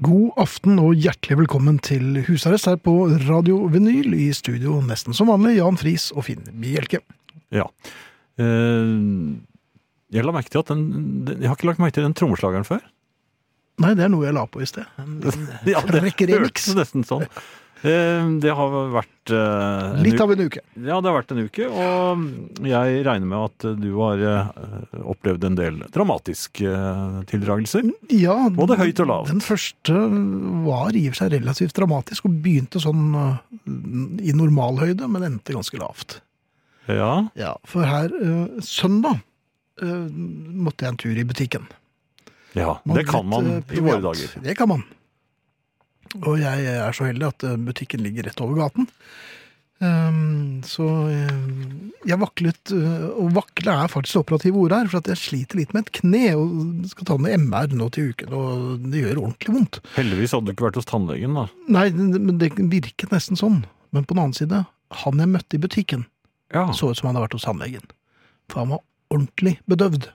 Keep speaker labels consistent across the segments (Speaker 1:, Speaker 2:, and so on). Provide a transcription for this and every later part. Speaker 1: God aften og hjertelig velkommen til husarrest her på Radio Vinyl. I studio nesten som vanlig, Jan Friis og Finn Bjelke.
Speaker 2: Ja. Eh, Jeg la merke til at den, den- Jeg har ikke lagt merke til den trommeslageren før.
Speaker 1: Nei, det er noe jeg la på i sted. En-
Speaker 2: Ja, det
Speaker 1: Rekker remix.
Speaker 2: hørtes nesten sånn. Eh, Det har vært eh, en
Speaker 1: Litt
Speaker 2: uke.
Speaker 1: av en uke.
Speaker 2: Ja, det har vært en uke, og jeg regner med at du har eh, opplevd en del dramatiske eh,
Speaker 1: Mm.
Speaker 2: tildragelser.
Speaker 1: Ja,
Speaker 2: Både høyt og lavt.
Speaker 1: Den første var i og for seg relativt dramatisk og begynte sånn eh, i normalhøyde, men endte ganske lavt.
Speaker 2: Ja,
Speaker 1: Ja, For her eh, søndag eh, måtte jeg en tur i butikken.
Speaker 2: ja
Speaker 1: Man
Speaker 2: det kan
Speaker 1: litt,
Speaker 2: man
Speaker 1: eh,
Speaker 2: i våre
Speaker 1: proviant.
Speaker 2: dager.
Speaker 1: Det kan man. Og jeg er så heldig at eh, butikken ligger rett over gaten. Ehm, så eh, jeg vaklet eh, Og vakle er faktisk det operative ordet her, for at jeg sliter litt med et kne. Og skal ta med MR nå til uken, og det gjør ordentlig vondt.
Speaker 2: Heldigvis hadde du ikke vært hos tannlegen, da.
Speaker 1: Nei, det- men det virket nesten sånn. Men på den annen side, han jeg møtte i butikken,
Speaker 2: Ja.
Speaker 1: så ut som han hadde vært hos tannlegen. For han var ordentlig bedøvd.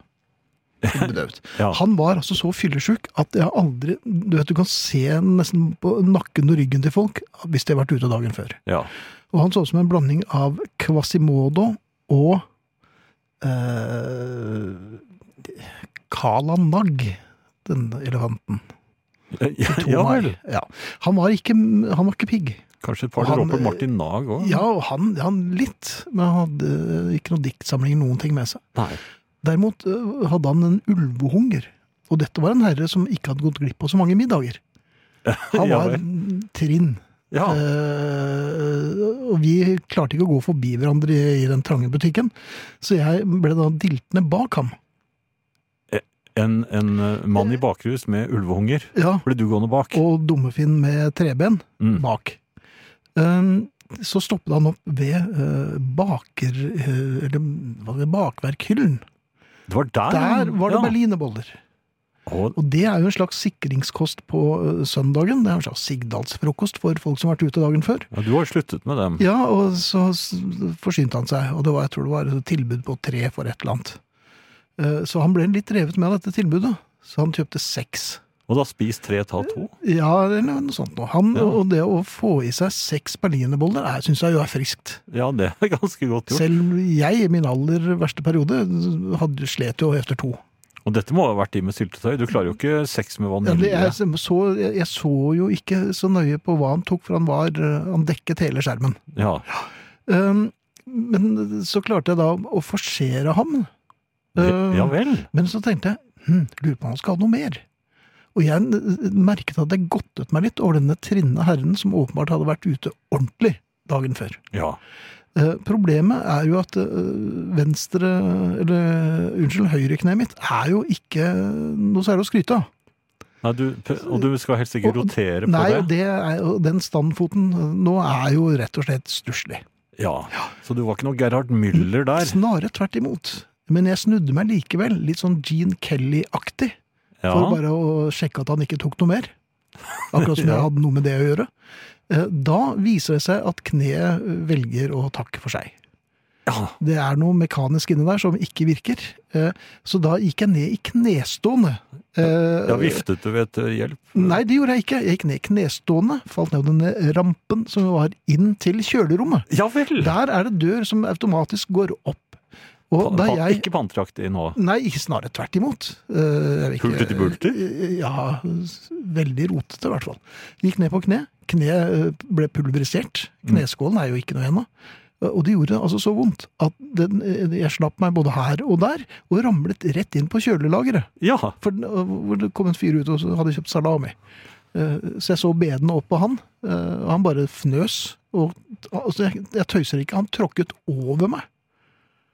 Speaker 1: bedøvd.
Speaker 2: Ja.
Speaker 1: Han var altså så fyllesyk at jeg aldri Du vet, du kan se nesten på nakken og ryggen til folk hvis de har vært ute dagen før.
Speaker 2: ja.
Speaker 1: Og han så ut som en blanding av Quasimodo og eh, Kala Nag, den elefanten. To
Speaker 2: Eh, ja
Speaker 1: meg.
Speaker 2: vel.
Speaker 1: Ja. Han var ikke, han var ikke pigg.
Speaker 2: Kanskje et par
Speaker 1: Han,
Speaker 2: dråper
Speaker 1: eh,
Speaker 2: Martin Nag òg?
Speaker 1: Ja, og han, han litt, men han hadde ikke noen diktsamling, noen ting med seg.
Speaker 2: Nei.
Speaker 1: Derimot øh, hadde han en ulvehunger, og dette var en herre som ikke hadde gått glipp av så mange middager. Han
Speaker 2: Ja
Speaker 1: var
Speaker 2: vel.
Speaker 1: mm, trinn,
Speaker 2: Ja.
Speaker 1: Eh, og vi klarte ikke å gå forbi hverandre i, i den trange butikken, så jeg ble da diltende bak ham.
Speaker 2: En, en eh, mann i bakrus med ulvehunger.
Speaker 1: Ja,
Speaker 2: Ble du gående bak?
Speaker 1: og dummefinn med treben
Speaker 2: Mm.
Speaker 1: bak. Ehm, så stoppet han opp ved eh, baker, eh, eller, hva var det, bakverkhyllen.
Speaker 2: Det var der?
Speaker 1: Der var det
Speaker 2: Ah, ja.
Speaker 1: berlinerboller.
Speaker 2: Og,
Speaker 1: Og det er jo en slags sikringskost på ø, søndagen. Det er en slags sigdalsfrokost for folk som har vært ute dagen før.
Speaker 2: ja, du har jo sluttet med dem.
Speaker 1: Ja, og så s- forsynte han seg, og det var, jeg tror det var et tilbud på tre for et eller annet. Eh, Så han ble litt revet med av dette tilbudet, så han kjøpte seks.
Speaker 2: Og da spis tre, ta to?
Speaker 1: Ja, eller noe sånt noe. Han,
Speaker 2: Ja.
Speaker 1: Og det å få i seg seks berlinerboller er- syns jeg jo er friskt.
Speaker 2: Ja, det er ganske godt gjort.
Speaker 1: Selv jeg i min aller verste periode eh, hadde, slet jo etter to.
Speaker 2: Og dette må ha vært de med syltetøy. Du klarer jo ikke seks med
Speaker 1: Ja, det,
Speaker 2: vanilje.
Speaker 1: jeg, så, jeg, jeg så jo ikke så nøye på hva han tok, for han, var, eh, han dekket hele skjermen.
Speaker 2: Ja.
Speaker 1: Um, men så klarte jeg da å forsere ham. Eh. Ehm,
Speaker 2: Det- ja vel.
Speaker 1: Men så tenkte jeg hm, lurer på om han skal ha noe mer. Og jeg eh, merket at jeg godtet meg litt over denne trinne herren som åpenbart hadde vært ute ordentlig dagen før.
Speaker 2: Ja.
Speaker 1: Eh, problemet er jo at eh, venstre, eller unnskyld, høyrekneet mitt er jo ikke noe særlig å skryte av.
Speaker 2: Nei, du, og du skal helst ikke
Speaker 1: Og-
Speaker 2: rotere på
Speaker 1: Nei, og
Speaker 2: det?
Speaker 1: det er, og den standfoten eh, nå er jo rett og slett stusslig.
Speaker 2: Ja. Så du var ikke noe Gerhard Müller der?
Speaker 1: Snarere tvert imot. Men jeg snudde meg likevel, litt sånn Gene Kelly-aktig,
Speaker 2: Ja.
Speaker 1: for bare å sjekke at han ikke tok noe mer. Akkurat som jeg hadde noe med det å gjøre. Eh, Da viser det seg at kneet velger å takke for seg.
Speaker 2: Ja.
Speaker 1: Det er noe mekanisk inni der som ikke virker. Eh, Så da gikk jeg ned i knestående. Eh,
Speaker 2: ja, viftet du ved etter hjelp?
Speaker 1: Nei, det gjorde jeg ikke. Jeg gikk ned knestående, falt ned denne rampen som var inn til kjølerommet.
Speaker 2: Ja vel!
Speaker 1: Der er det dør som automatisk går opp. Og
Speaker 2: Pa-
Speaker 1: da
Speaker 2: pa-
Speaker 1: jeg
Speaker 2: Ikke panteaktig nå.
Speaker 1: Nei, snarere tvert imot. Eh, jeg vil ikke-
Speaker 2: Hulter til bulter?
Speaker 1: Eh, Ja, s- veldig rotete i hvert fall. Gikk ned på kne. Kneet eh, ble pulverisert.
Speaker 2: Mm.
Speaker 1: Kneskålen er jo ikke noe igjen nå. Eh, Og det gjorde altså så vondt at den, eh, jeg slapp meg både her og der, og ramlet rett inn på kjølelageret.
Speaker 2: Ja.
Speaker 1: For den- hvor det kom en fyr ut og så hadde kjøpt salami. Eh, Så jeg så bedene opp på han, eh, og han bare fnøs. Og, altså, jeg, jeg tøyser ikke, han tråkket over meg.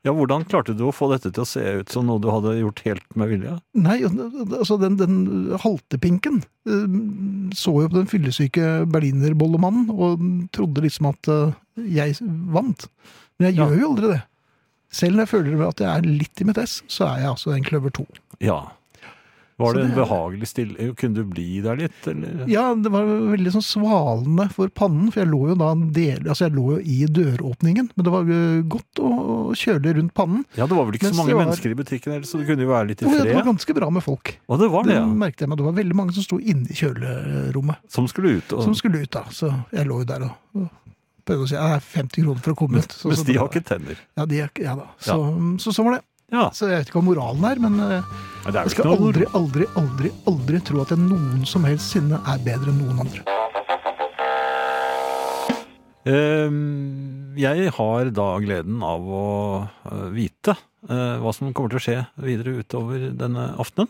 Speaker 2: Ja, hvordan klarte du å få dette til å se ut som noe du hadde gjort helt med vilje?
Speaker 1: Nei, altså den, den haltepinken eh, så jo på den fyllesyke berlinerbollemannen og trodde liksom at eh, jeg vant. Men jeg
Speaker 2: Ja.
Speaker 1: gjør jo aldri det. Selv når jeg føler at jeg er litt i mitt ess, så er jeg altså en kløver to.
Speaker 2: Ja. Var
Speaker 1: Så
Speaker 2: det en
Speaker 1: det er-
Speaker 2: behagelig stille Kunne du bli der litt, eller?
Speaker 1: Ja, det var veldig sånn svalende for pannen, for jeg lå jo da en del, altså jeg lå jo i døråpningen, men det var jo godt å å kjøle rundt pannen.
Speaker 2: Ja, det var vel ikke
Speaker 1: Mens
Speaker 2: så mange
Speaker 1: det var-
Speaker 2: mennesker i butikken heller, så du kunne jo være litt i
Speaker 1: Og det var Mm.
Speaker 2: fred.
Speaker 1: ganske bra med folk.
Speaker 2: Og det var
Speaker 1: Det
Speaker 2: det, ja.
Speaker 1: merkte jeg meg. Det var veldig mange som sto inne i kjølerommet.
Speaker 2: Som skulle ut. Og,
Speaker 1: som skulle ut, da. Så jeg lå jo der og, og prøvde å si ja, det er 50 kroner for å komme ut. Så,
Speaker 2: mens
Speaker 1: så
Speaker 2: de
Speaker 1: da-
Speaker 2: har ikke tenner.
Speaker 1: Ja, de har ikke ja da. Så, så sånn var det.
Speaker 2: Ja,
Speaker 1: Så jeg vet ikke hva moralen er, men eh,
Speaker 2: men det
Speaker 1: jeg
Speaker 2: er jo ikke
Speaker 1: skal
Speaker 2: noe
Speaker 1: aldri, aldri, aldri aldri tro at jeg noen som helst sinne er bedre enn noen andre.
Speaker 2: Ehm, Jeg har da gleden av å eh, vite eh, hva som kommer til å skje videre utover denne aftenen.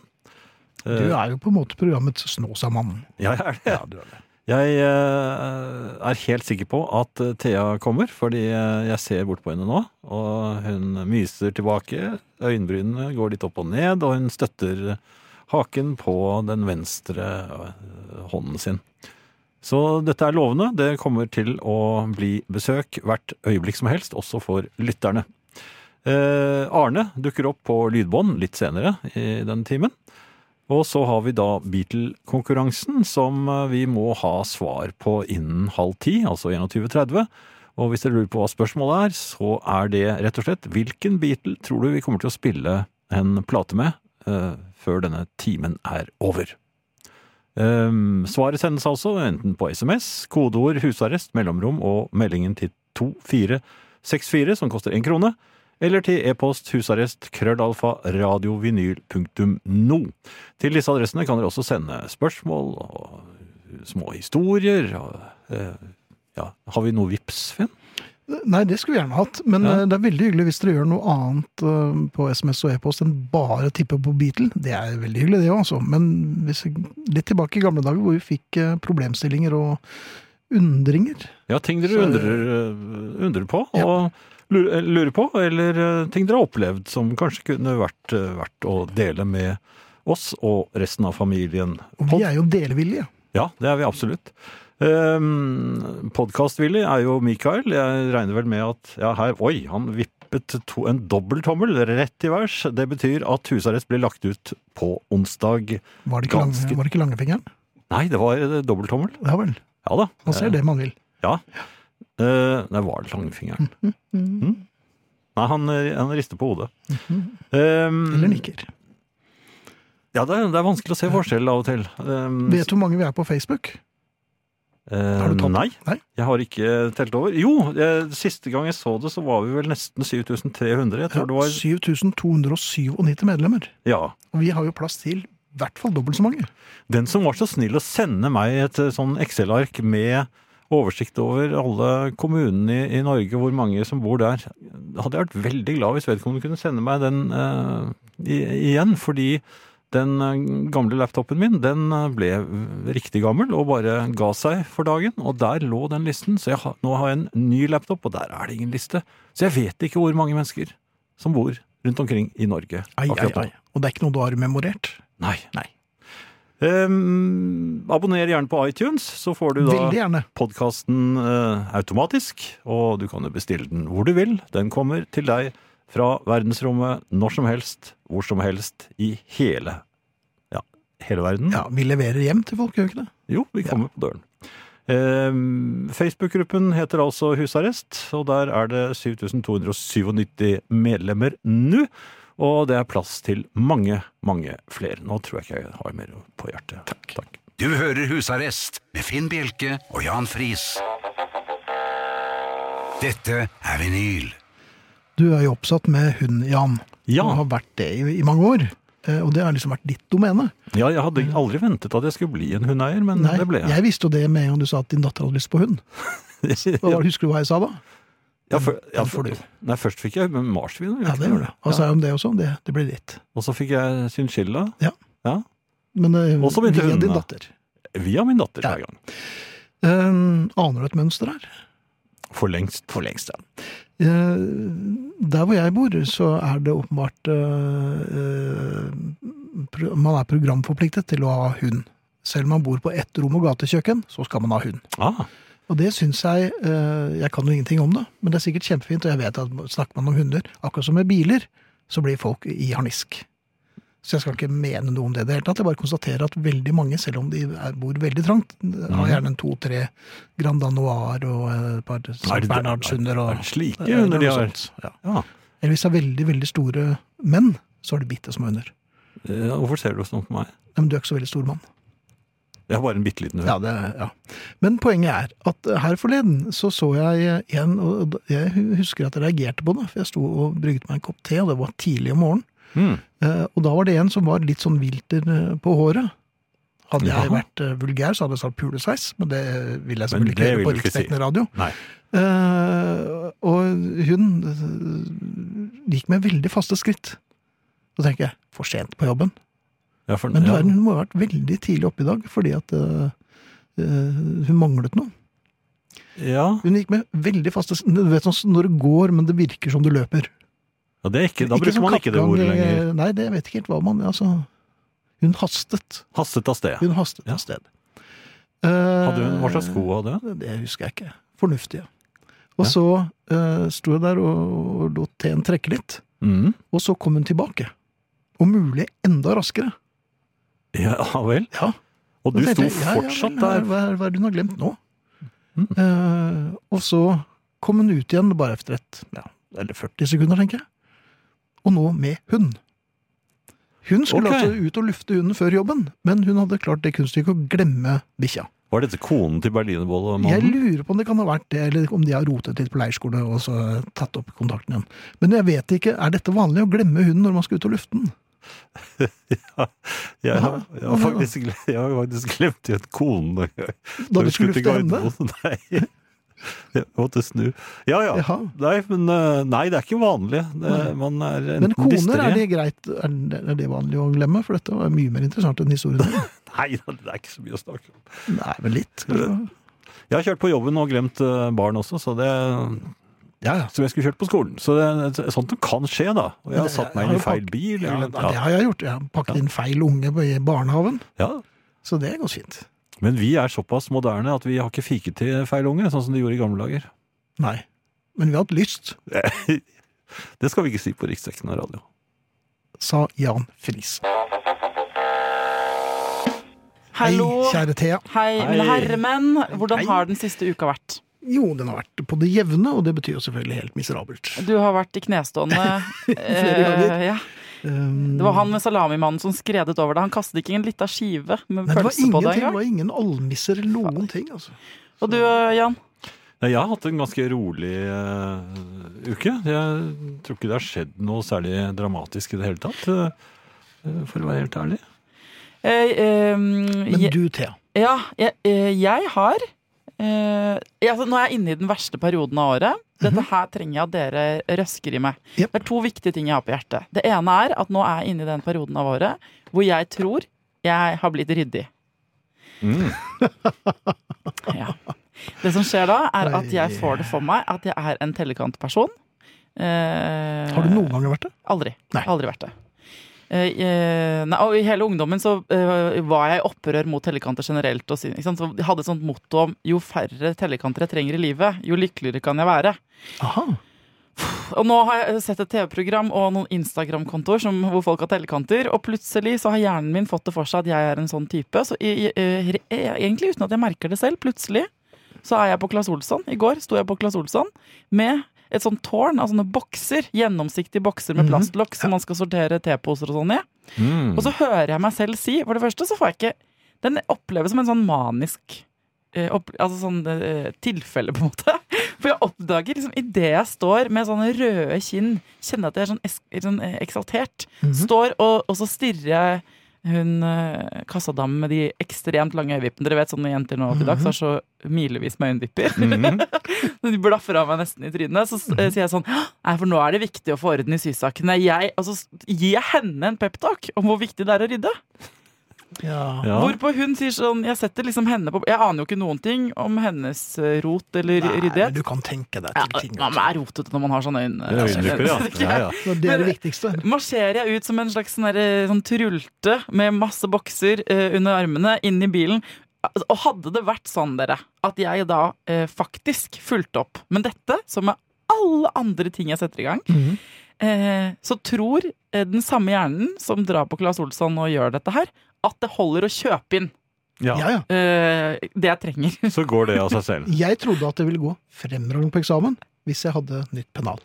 Speaker 2: Eh,
Speaker 1: Du er jo på en måte programmets Snåsamann.
Speaker 2: Ja, jeg er det. Jeg eh, er helt sikker på at eh, Thea kommer, fordi eh, jeg ser bort på henne nå. Og hun myser tilbake, øyenbrynene går litt opp og ned, og hun støtter haken på den venstre eh, hånden sin. Så dette er lovende. Det kommer til å bli besøk hvert øyeblikk som helst, også for lytterne. Eh, Arne dukker opp på lydbånd litt senere i den timen. Og så har vi da Beatle-konkurransen, som eh, vi må ha svar på innen halv ti, altså 21.30. Og hvis dere lurer på hva spørsmålet er, så er det rett og slett hvilken Beatle tror du vi kommer til å spille en plate med eh, før denne timen er over? Ehm, svaret sendes altså enten på SMS, kodeord 'husarrest', mellomrom og meldingen til 2464, som koster én krone, eller til e-post husarrest krøllalfa radiovinyl.no. Til disse adressene kan dere også sende spørsmål og små historier. Og, eh, ja. Har vi noe vips, Finn?
Speaker 1: Nei, det skulle vi gjerne hatt, men
Speaker 2: Ja.
Speaker 1: eh, det er veldig hyggelig hvis dere gjør noe annet eh, på SMS og e-post enn bare tippe på Beatle. Det er veldig hyggelig, det òg, altså. Men hvis, jeg- litt tilbake i gamle dager hvor vi fikk eh, problemstillinger og undringer.
Speaker 2: Ja, ting dere
Speaker 1: Så-
Speaker 2: undrer, eh, undrer på
Speaker 1: Ja.
Speaker 2: og lurer, lurer på, eller eh, ting dere har opplevd som kanskje kunne vært eh, verdt å dele med oss og resten av familien.
Speaker 1: Og vi er jo delevillige.
Speaker 2: Ja, det er vi absolutt. Um, Podkast-Willy er jo Mikael. Jeg regner vel med at ja, her, Oi, han vippet to, en dobbelttommel rett i værs. Det betyr at husarrest blir lagt ut på onsdag.
Speaker 1: Var det ikke, lang,
Speaker 2: Ganske-
Speaker 1: var det ikke langfingeren?
Speaker 2: Nei, det var eh, dobbelttommel.
Speaker 1: Ja vel.
Speaker 2: Ja da.
Speaker 1: Man ser det man vil.
Speaker 2: Eh, nei, var det langfingeren?
Speaker 1: Mm-hmm.
Speaker 2: Mm. Nei, han, eh, han rister på hodet. Um,
Speaker 1: Eller nikker.
Speaker 2: Ja, det er, det er vanskelig å se forskjell av og til. Um,
Speaker 1: Vet du hvor mange vi er på Facebook?
Speaker 2: Eh,
Speaker 1: Har du tatt-
Speaker 2: nei,
Speaker 1: Nei?
Speaker 2: jeg har ikke telt over. Jo, eh, siste gang jeg så det, så var vi vel nesten 7300. Jeg tror det var
Speaker 1: 7297 medlemmer.
Speaker 2: Ja.
Speaker 1: Og vi har jo plass til i hvert fall dobbelt så mange.
Speaker 2: Den som var så snill å sende meg et eh, sånn Excel-ark med oversikt over alle kommunene i, i Norge, hvor mange som bor der, hadde jeg vært veldig glad hvis vedkommende kunne sende meg den eh, i, igjen, fordi den eh, gamle laptopen min den eh, ble riktig gammel og bare ga seg for dagen. Og der lå den listen, så jeg, har- nå har jeg en ny laptop, og der er det ingen liste. Så jeg vet ikke hvor mange mennesker som bor rundt omkring i Norge akkurat nå.
Speaker 1: Og det er ikke noe du har memorert.
Speaker 2: Nei.
Speaker 1: Nei.
Speaker 2: Ehm, abonner gjerne på iTunes, så får du
Speaker 1: Veldig
Speaker 2: da
Speaker 1: gjerne.
Speaker 2: podkasten eh, automatisk. Og du kan jo bestille den hvor du vil. Den kommer til deg fra verdensrommet når som helst, hvor som helst, i hele ja, hele verden.
Speaker 1: Ja, Vi leverer hjem til folk, gjør vi ikke det?
Speaker 2: Jo, vi kommer på døren. Ehm, Facebook-gruppen heter altså Husarrest, og der er det 7297 medlemmer nå. Og det er plass til mange, mange flere. Nå tror jeg ikke jeg har mer på hjertet. Takk.
Speaker 3: Du hører Husarrest med Finn Bjelke og Jan Friis. Dette er vinyl.
Speaker 1: Du er jo oppsatt med hund, Jan.
Speaker 2: Ja.
Speaker 1: Og har vært det i, i mange år. Eh, Og det har liksom vært ditt domene.
Speaker 2: Ja, jeg hadde aldri ventet at jeg skulle bli en hundeeier, men
Speaker 1: Nei,
Speaker 2: det ble jeg.
Speaker 1: jeg visste jo det med en gang du sa at din datter hadde lyst på hund. Hva var, det- husker du hva jeg sa da?
Speaker 2: ja, for, ja,
Speaker 1: Den får
Speaker 2: for,
Speaker 1: du.
Speaker 2: nei, først fikk jeg men marsvin.
Speaker 1: Ja, det gjorde det. Hva sa jeg om det også? Det, det ble ditt.
Speaker 2: Og så fikk jeg chinchilla
Speaker 1: Ja.
Speaker 2: Ja.
Speaker 1: Men eh,
Speaker 2: Og så begynte
Speaker 1: via
Speaker 2: hundene.
Speaker 1: din datter.
Speaker 2: via min datter
Speaker 1: Ja.
Speaker 2: hver gang.
Speaker 1: Eh, aner du et mønster her?
Speaker 2: For lengst.
Speaker 1: For lengst, ja. Eh, Der hvor jeg bor, så er det åpenbart eh, eh, pro- Man er programforpliktet til å ha hund. Selv om man bor på ett rom og gatekjøkken, så skal man ha hund.
Speaker 2: Ah,
Speaker 1: Og det syns jeg eh, Jeg kan jo ingenting om det, men det er sikkert kjempefint. Og jeg vet at snakker man om hunder, akkurat som med biler, så blir folk i harnisk. Så jeg skal ikke mene noe om det i det hele tatt. Jeg bare konstaterer at veldig mange, selv om de er, bor veldig trangt,
Speaker 2: Mhm.
Speaker 1: har gjerne en to-tre Grand Anoir og eh, et par
Speaker 2: det-
Speaker 1: St. Bernhardshunder
Speaker 2: er det
Speaker 1: og
Speaker 2: slike
Speaker 1: eller
Speaker 2: hunder de
Speaker 1: noe
Speaker 2: har?
Speaker 1: sånt, Ja.
Speaker 2: ja.
Speaker 1: Eller hvis det er veldig, veldig store menn, så er det bitte små hunder.
Speaker 2: Eh, Hvorfor ser du sånn på meg?
Speaker 1: Ja, Men du er ikke så veldig stor mann.
Speaker 2: Jeg har bare en bitte liten hund.
Speaker 1: Ja, det, ja. Men poenget er at eh, her forleden så så jeg en, og jeg husker at jeg reagerte på det, for jeg sto og brygget meg en kopp te, og det var tidlig om morgenen.
Speaker 2: Mm.
Speaker 1: Eh, Og da var det en som var litt sånn vilter eh, på håret. Hadde jeg
Speaker 2: Ja.
Speaker 1: vært eh, vulgær, så hadde jeg sagt pulesveis, men det vil jeg
Speaker 2: Men
Speaker 1: selvfølgelig
Speaker 2: det
Speaker 1: ikke gjøre på
Speaker 2: vil du ikke si.
Speaker 1: riksdekkende radio.
Speaker 2: Nei.
Speaker 1: Eh, og hun eh, gikk med veldig faste skritt. Da tenker jeg, for sent på jobben.
Speaker 2: Ja, for,
Speaker 1: Men du
Speaker 2: ja.
Speaker 1: verden, hun må ha vært veldig tidlig oppe i dag, fordi at øh, øh, hun manglet noe.
Speaker 2: Ja.
Speaker 1: Hun gikk med veldig faste s- Du vet sånn når det går, men det virker som du løper.
Speaker 2: ja, det er ikke, da bruker
Speaker 1: som
Speaker 2: man ikke det
Speaker 1: kattgang,
Speaker 2: ordet lenger.
Speaker 1: eh, Nei, det vet ikke helt hva man Altså, hun hastet.
Speaker 2: Hastet av sted.
Speaker 1: Hun hastet
Speaker 2: Ja.
Speaker 1: av sted. Eh,
Speaker 2: Hadde hun, hva slags sko hadde hun?
Speaker 1: Det husker jeg ikke. Fornuftige. Og
Speaker 2: Ja.
Speaker 1: så øh, sto jeg der og, og lot teen trekke litt,
Speaker 2: Mm.
Speaker 1: og så kom hun tilbake. Om mulig enda raskere.
Speaker 2: Ja, vel.
Speaker 1: Ja.
Speaker 2: Og du
Speaker 1: Da
Speaker 2: sto
Speaker 1: tenkte jeg, ja, ja,
Speaker 2: fortsatt
Speaker 1: vel,
Speaker 2: der.
Speaker 1: Hva, hva, hva er det hun har glemt nå?
Speaker 2: Mm.
Speaker 1: Eh, og så kom hun ut igjen bare etter et, ja, eller 40 sekunder, tenker jeg. Og nå med hund. Hun skulle
Speaker 2: Ok.
Speaker 1: altså ut og lufte hunden før jobben, men hun hadde klart det kunststykket å glemme bikkja.
Speaker 2: Var dette konen til
Speaker 1: Jeg
Speaker 2: berlinerbollemannen?
Speaker 1: lurer på om det kan ha vært det, eller om de har rotet litt på leirskole og så tatt opp kontakten igjen. Men jeg vet ikke, er dette vanlig å glemme hunden når man skal ut og lufte den?
Speaker 2: Jeg har
Speaker 1: Ja,
Speaker 2: jeg har
Speaker 1: ja.
Speaker 2: faktisk, gle- jeg har faktisk glemt igjen konen en gang.
Speaker 1: Da du skulle lufte henne?
Speaker 2: Nei. Jeg måtte snu. Ja, ja.
Speaker 1: Jaha.
Speaker 2: Nei, men eh, nei, det er ikke vanlig. Det, man er enten
Speaker 1: Men koner,
Speaker 2: dysteri-
Speaker 1: er det greit? Er det, er det vanlig å glemme? For dette var mye mer interessant enn historien. din.
Speaker 2: Nei, det er ikke så mye å snakke om.
Speaker 1: Nei, men litt. kanskje.
Speaker 2: Jeg har kjørt på jobben og glemt eh, barn også, så det,
Speaker 1: Ja, ja.
Speaker 2: som jeg skulle kjørt på skolen. Så det, sånt kan skje, da. Og jeg har satt meg inn i feil bil.
Speaker 1: Ja,
Speaker 2: eller-
Speaker 1: det har jeg gjort. Jeg har pakket inn feil unge på- i barnehaven,
Speaker 2: ja.
Speaker 1: så det går fint.
Speaker 2: Men vi er såpass moderne at vi har ikke fiket til feil unge, sånn som de gjorde i gamle dager.
Speaker 1: Nei. Men vi har hatt lyst,
Speaker 2: Det skal vi ikke si på riksdekkende radio.
Speaker 1: sa Jan Friis.
Speaker 4: Hallo.
Speaker 1: Hei, kjære Thea.
Speaker 4: Hei, mine
Speaker 2: Hei.
Speaker 4: herremenn. Hvordan har den siste uka vært?
Speaker 1: Jo, den har vært på det jevne, og det betyr jo selvfølgelig helt miserabelt.
Speaker 4: Du har vært i knestående
Speaker 1: Flere ganger.
Speaker 4: eh, ja.
Speaker 1: Um,
Speaker 4: Det var han med salamimannen som skredet over deg. Han kastet ikke en lita skive med
Speaker 1: Nei, det var
Speaker 4: pølse på
Speaker 1: ingenting.
Speaker 4: deg
Speaker 1: Det
Speaker 4: engang.
Speaker 1: var ingen almisser eller noen ting, altså.
Speaker 4: Og du, eh, Jan?
Speaker 2: Nei, jeg har hatt en ganske rolig eh, uke. Jeg tror ikke det har skjedd noe særlig dramatisk i det hele tatt. eh, for å være helt ærlig.
Speaker 4: Eh, eh,
Speaker 1: Men
Speaker 4: jeg,
Speaker 1: du, Thea.
Speaker 4: ja, jeg, eh, jeg har eh, ja, altså, Nå er jeg inne i den verste perioden av året. Dette her trenger jeg at dere røsker i meg.
Speaker 1: Mhm. Jep.
Speaker 4: Det er to viktige ting jeg har på hjertet. Det ene er at nå er jeg inne i den perioden av året hvor jeg tror jeg har blitt ryddig.
Speaker 1: Mm.
Speaker 4: Ja. Det som skjer da, er at jeg får det for meg at jeg er en tellekantperson. Eh,
Speaker 1: Har du noen ganger vært det?
Speaker 4: Aldri.
Speaker 1: Nei.
Speaker 4: Aldri vært det. Eh, eh, nei, og I hele ungdommen så eh, var jeg i opprør mot tellekanter generelt. Og, sin- ikke sant? Så jeg hadde et sånt motto om jo færre tellekanter jeg trenger i livet, jo lykkeligere kan jeg være.
Speaker 1: Aha.
Speaker 4: Og nå har jeg sett et TV-program og noen Instagram-kontoer som- hvor folk har tellekanter, og plutselig så har hjernen min fått det for seg at jeg er en sånn type. Så i, i, eh, re- egentlig uten at jeg merker det selv, plutselig så er jeg på Claes Olsson. I går sto jeg på Claes Olsson med et sånt tårn av sånne bokser, gjennomsiktige bokser med plastlokk som man skal sortere teposer og sånn i.
Speaker 2: Mm.
Speaker 4: Og så hører jeg meg selv si, for det første så får jeg ikke Den oppleves som en sånn manisk eh, opp, altså sånn eh, tilfelle, på en måte. For jeg oppdager liksom idet jeg står med sånne røde kinn, kjenner at jeg er sånn, es sånn eh, eksaltert, står og, og så stirrer jeg hun eh, kassadamen med de ekstremt lange øyevippene. Dere vet sånne jenter nå til dags har så milevis med øyenvipper. de blaffer av meg nesten i trynet. Så s- eh, sier jeg sånn Nei, for nå er det viktig å få altså, orden i sysakene. Jeg, og så s- gir jeg henne en peptalk om hvor viktig det er å rydde.
Speaker 1: Ja.
Speaker 2: Ja.
Speaker 4: Hvorpå hun sier sånn Jeg setter liksom henne på Jeg aner jo ikke noen ting om hennes eh, rot eller
Speaker 1: Nei, men
Speaker 4: ryddighet.
Speaker 1: du kan tenke deg
Speaker 4: Ja,
Speaker 1: til ting.
Speaker 4: man er rotete når man har sånne øyne.
Speaker 2: Det er øyendukker, ja. ja, ja.
Speaker 1: altså. Det er det
Speaker 4: Men-
Speaker 1: viktigste.
Speaker 4: Marsjerer jeg ut som en slags sånn, derre- sånn trulte med masse bokser eh, under armene, inn i bilen. Altså, Og hadde det vært sånn, dere, at jeg da eh, faktisk fulgte opp Men dette, som med alle andre ting jeg setter i gang,
Speaker 1: Mhm.
Speaker 4: eh, så tror eh, den samme hjernen som drar på Claes Olsson og gjør dette her, at det holder å kjøpe inn
Speaker 2: Ja,
Speaker 1: Ja, ja.
Speaker 4: eh, det jeg trenger.
Speaker 2: Så går det av seg selv.
Speaker 1: Jeg trodde at det ville gå fremragende på eksamen hvis jeg hadde nytt pennal.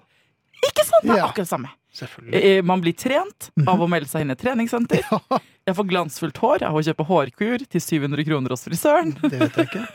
Speaker 4: Ikke sant? Det er
Speaker 1: Ja.
Speaker 4: akkurat det samme.
Speaker 1: Selvfølgelig.
Speaker 4: Eh, Man blir trent av å melde seg inn i et treningssenter. Jeg får glansfullt hår av å kjøpe hårkur til 700 kroner hos frisøren.
Speaker 1: Det vet jeg ikke.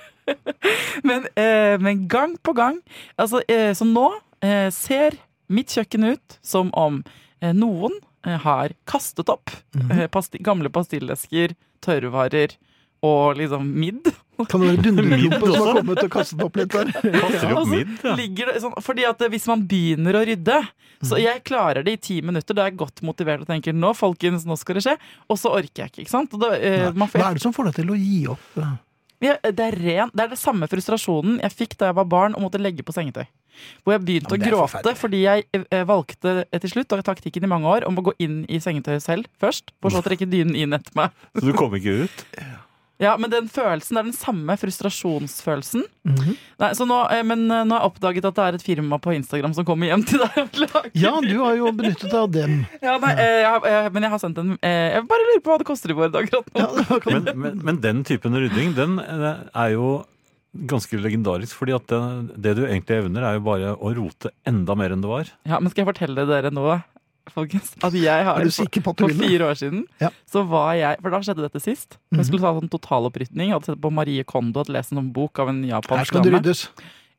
Speaker 4: Men, eh, men gang på gang altså, eh, Så nå eh, ser mitt kjøkken ut som om eh, noen eh, har kastet opp
Speaker 1: Mm.
Speaker 4: eh, pasti gamle pastillesker, tørrvarer og liksom midd.
Speaker 1: Kan det være dundreklumpen som har kommet og kastet opp litt der?
Speaker 2: Kaster
Speaker 4: Og
Speaker 2: opp
Speaker 4: så
Speaker 2: midd, ja.
Speaker 4: ligger det sånn, fordi at eh, hvis man begynner å rydde Så
Speaker 1: Mhm.
Speaker 4: jeg klarer det i ti minutter, da er jeg godt motivert og tenker nå folkens, nå skal det skje. Og så orker jeg ikke. ikke sant? Og da, eh, man får,
Speaker 1: Hva er det som får deg til å gi opp?
Speaker 4: Ja, det, er ren, det er det samme frustrasjonen jeg fikk da jeg var barn og måtte legge på sengetøy. Hvor jeg begynte
Speaker 1: Ja, men
Speaker 4: å
Speaker 1: det er
Speaker 4: gråte
Speaker 1: forferdelig.
Speaker 4: fordi jeg eh, valgte eh, til slutt og taktikken i mange år om å gå inn i sengetøyet selv først, for så å trekke dynen inn etter meg.
Speaker 2: Så du kom ikke ut.
Speaker 4: Ja, Men den følelsen det er den samme frustrasjonsfølelsen.
Speaker 1: Mhm.
Speaker 4: Nei, så nå, eh, men eh, nå har jeg oppdaget at det er et firma på Instagram som kommer hjem til deg. og lager-
Speaker 1: Ja, du har jo benyttet deg av dem.
Speaker 4: Ja, nei, eh, jeg, har- eh, men jeg har sendt en eh, Jeg bare lurer på hva det koster i vår dag akkurat nå.
Speaker 1: Ja, da kan-
Speaker 2: Men, men, men den typen rydding, den eh, er jo ganske legendarisk. fordi at det, det du egentlig evner, er jo bare å rote enda mer enn det var.
Speaker 4: Ja, men skal jeg fortelle dere nå, folkens, at jeg har
Speaker 1: er du sikker på at du
Speaker 4: For
Speaker 1: vil det?
Speaker 4: fire år siden
Speaker 1: Ja.
Speaker 4: så var jeg For da skjedde dette sist.
Speaker 1: Mhm.
Speaker 4: Jeg skulle ta en sånn totalopprydning. Jeg Hadde sett på Marie Kondo hadde lest en sånn bok av en
Speaker 1: Her
Speaker 4: japansk
Speaker 1: skal det
Speaker 4: dame.
Speaker 1: ryddes.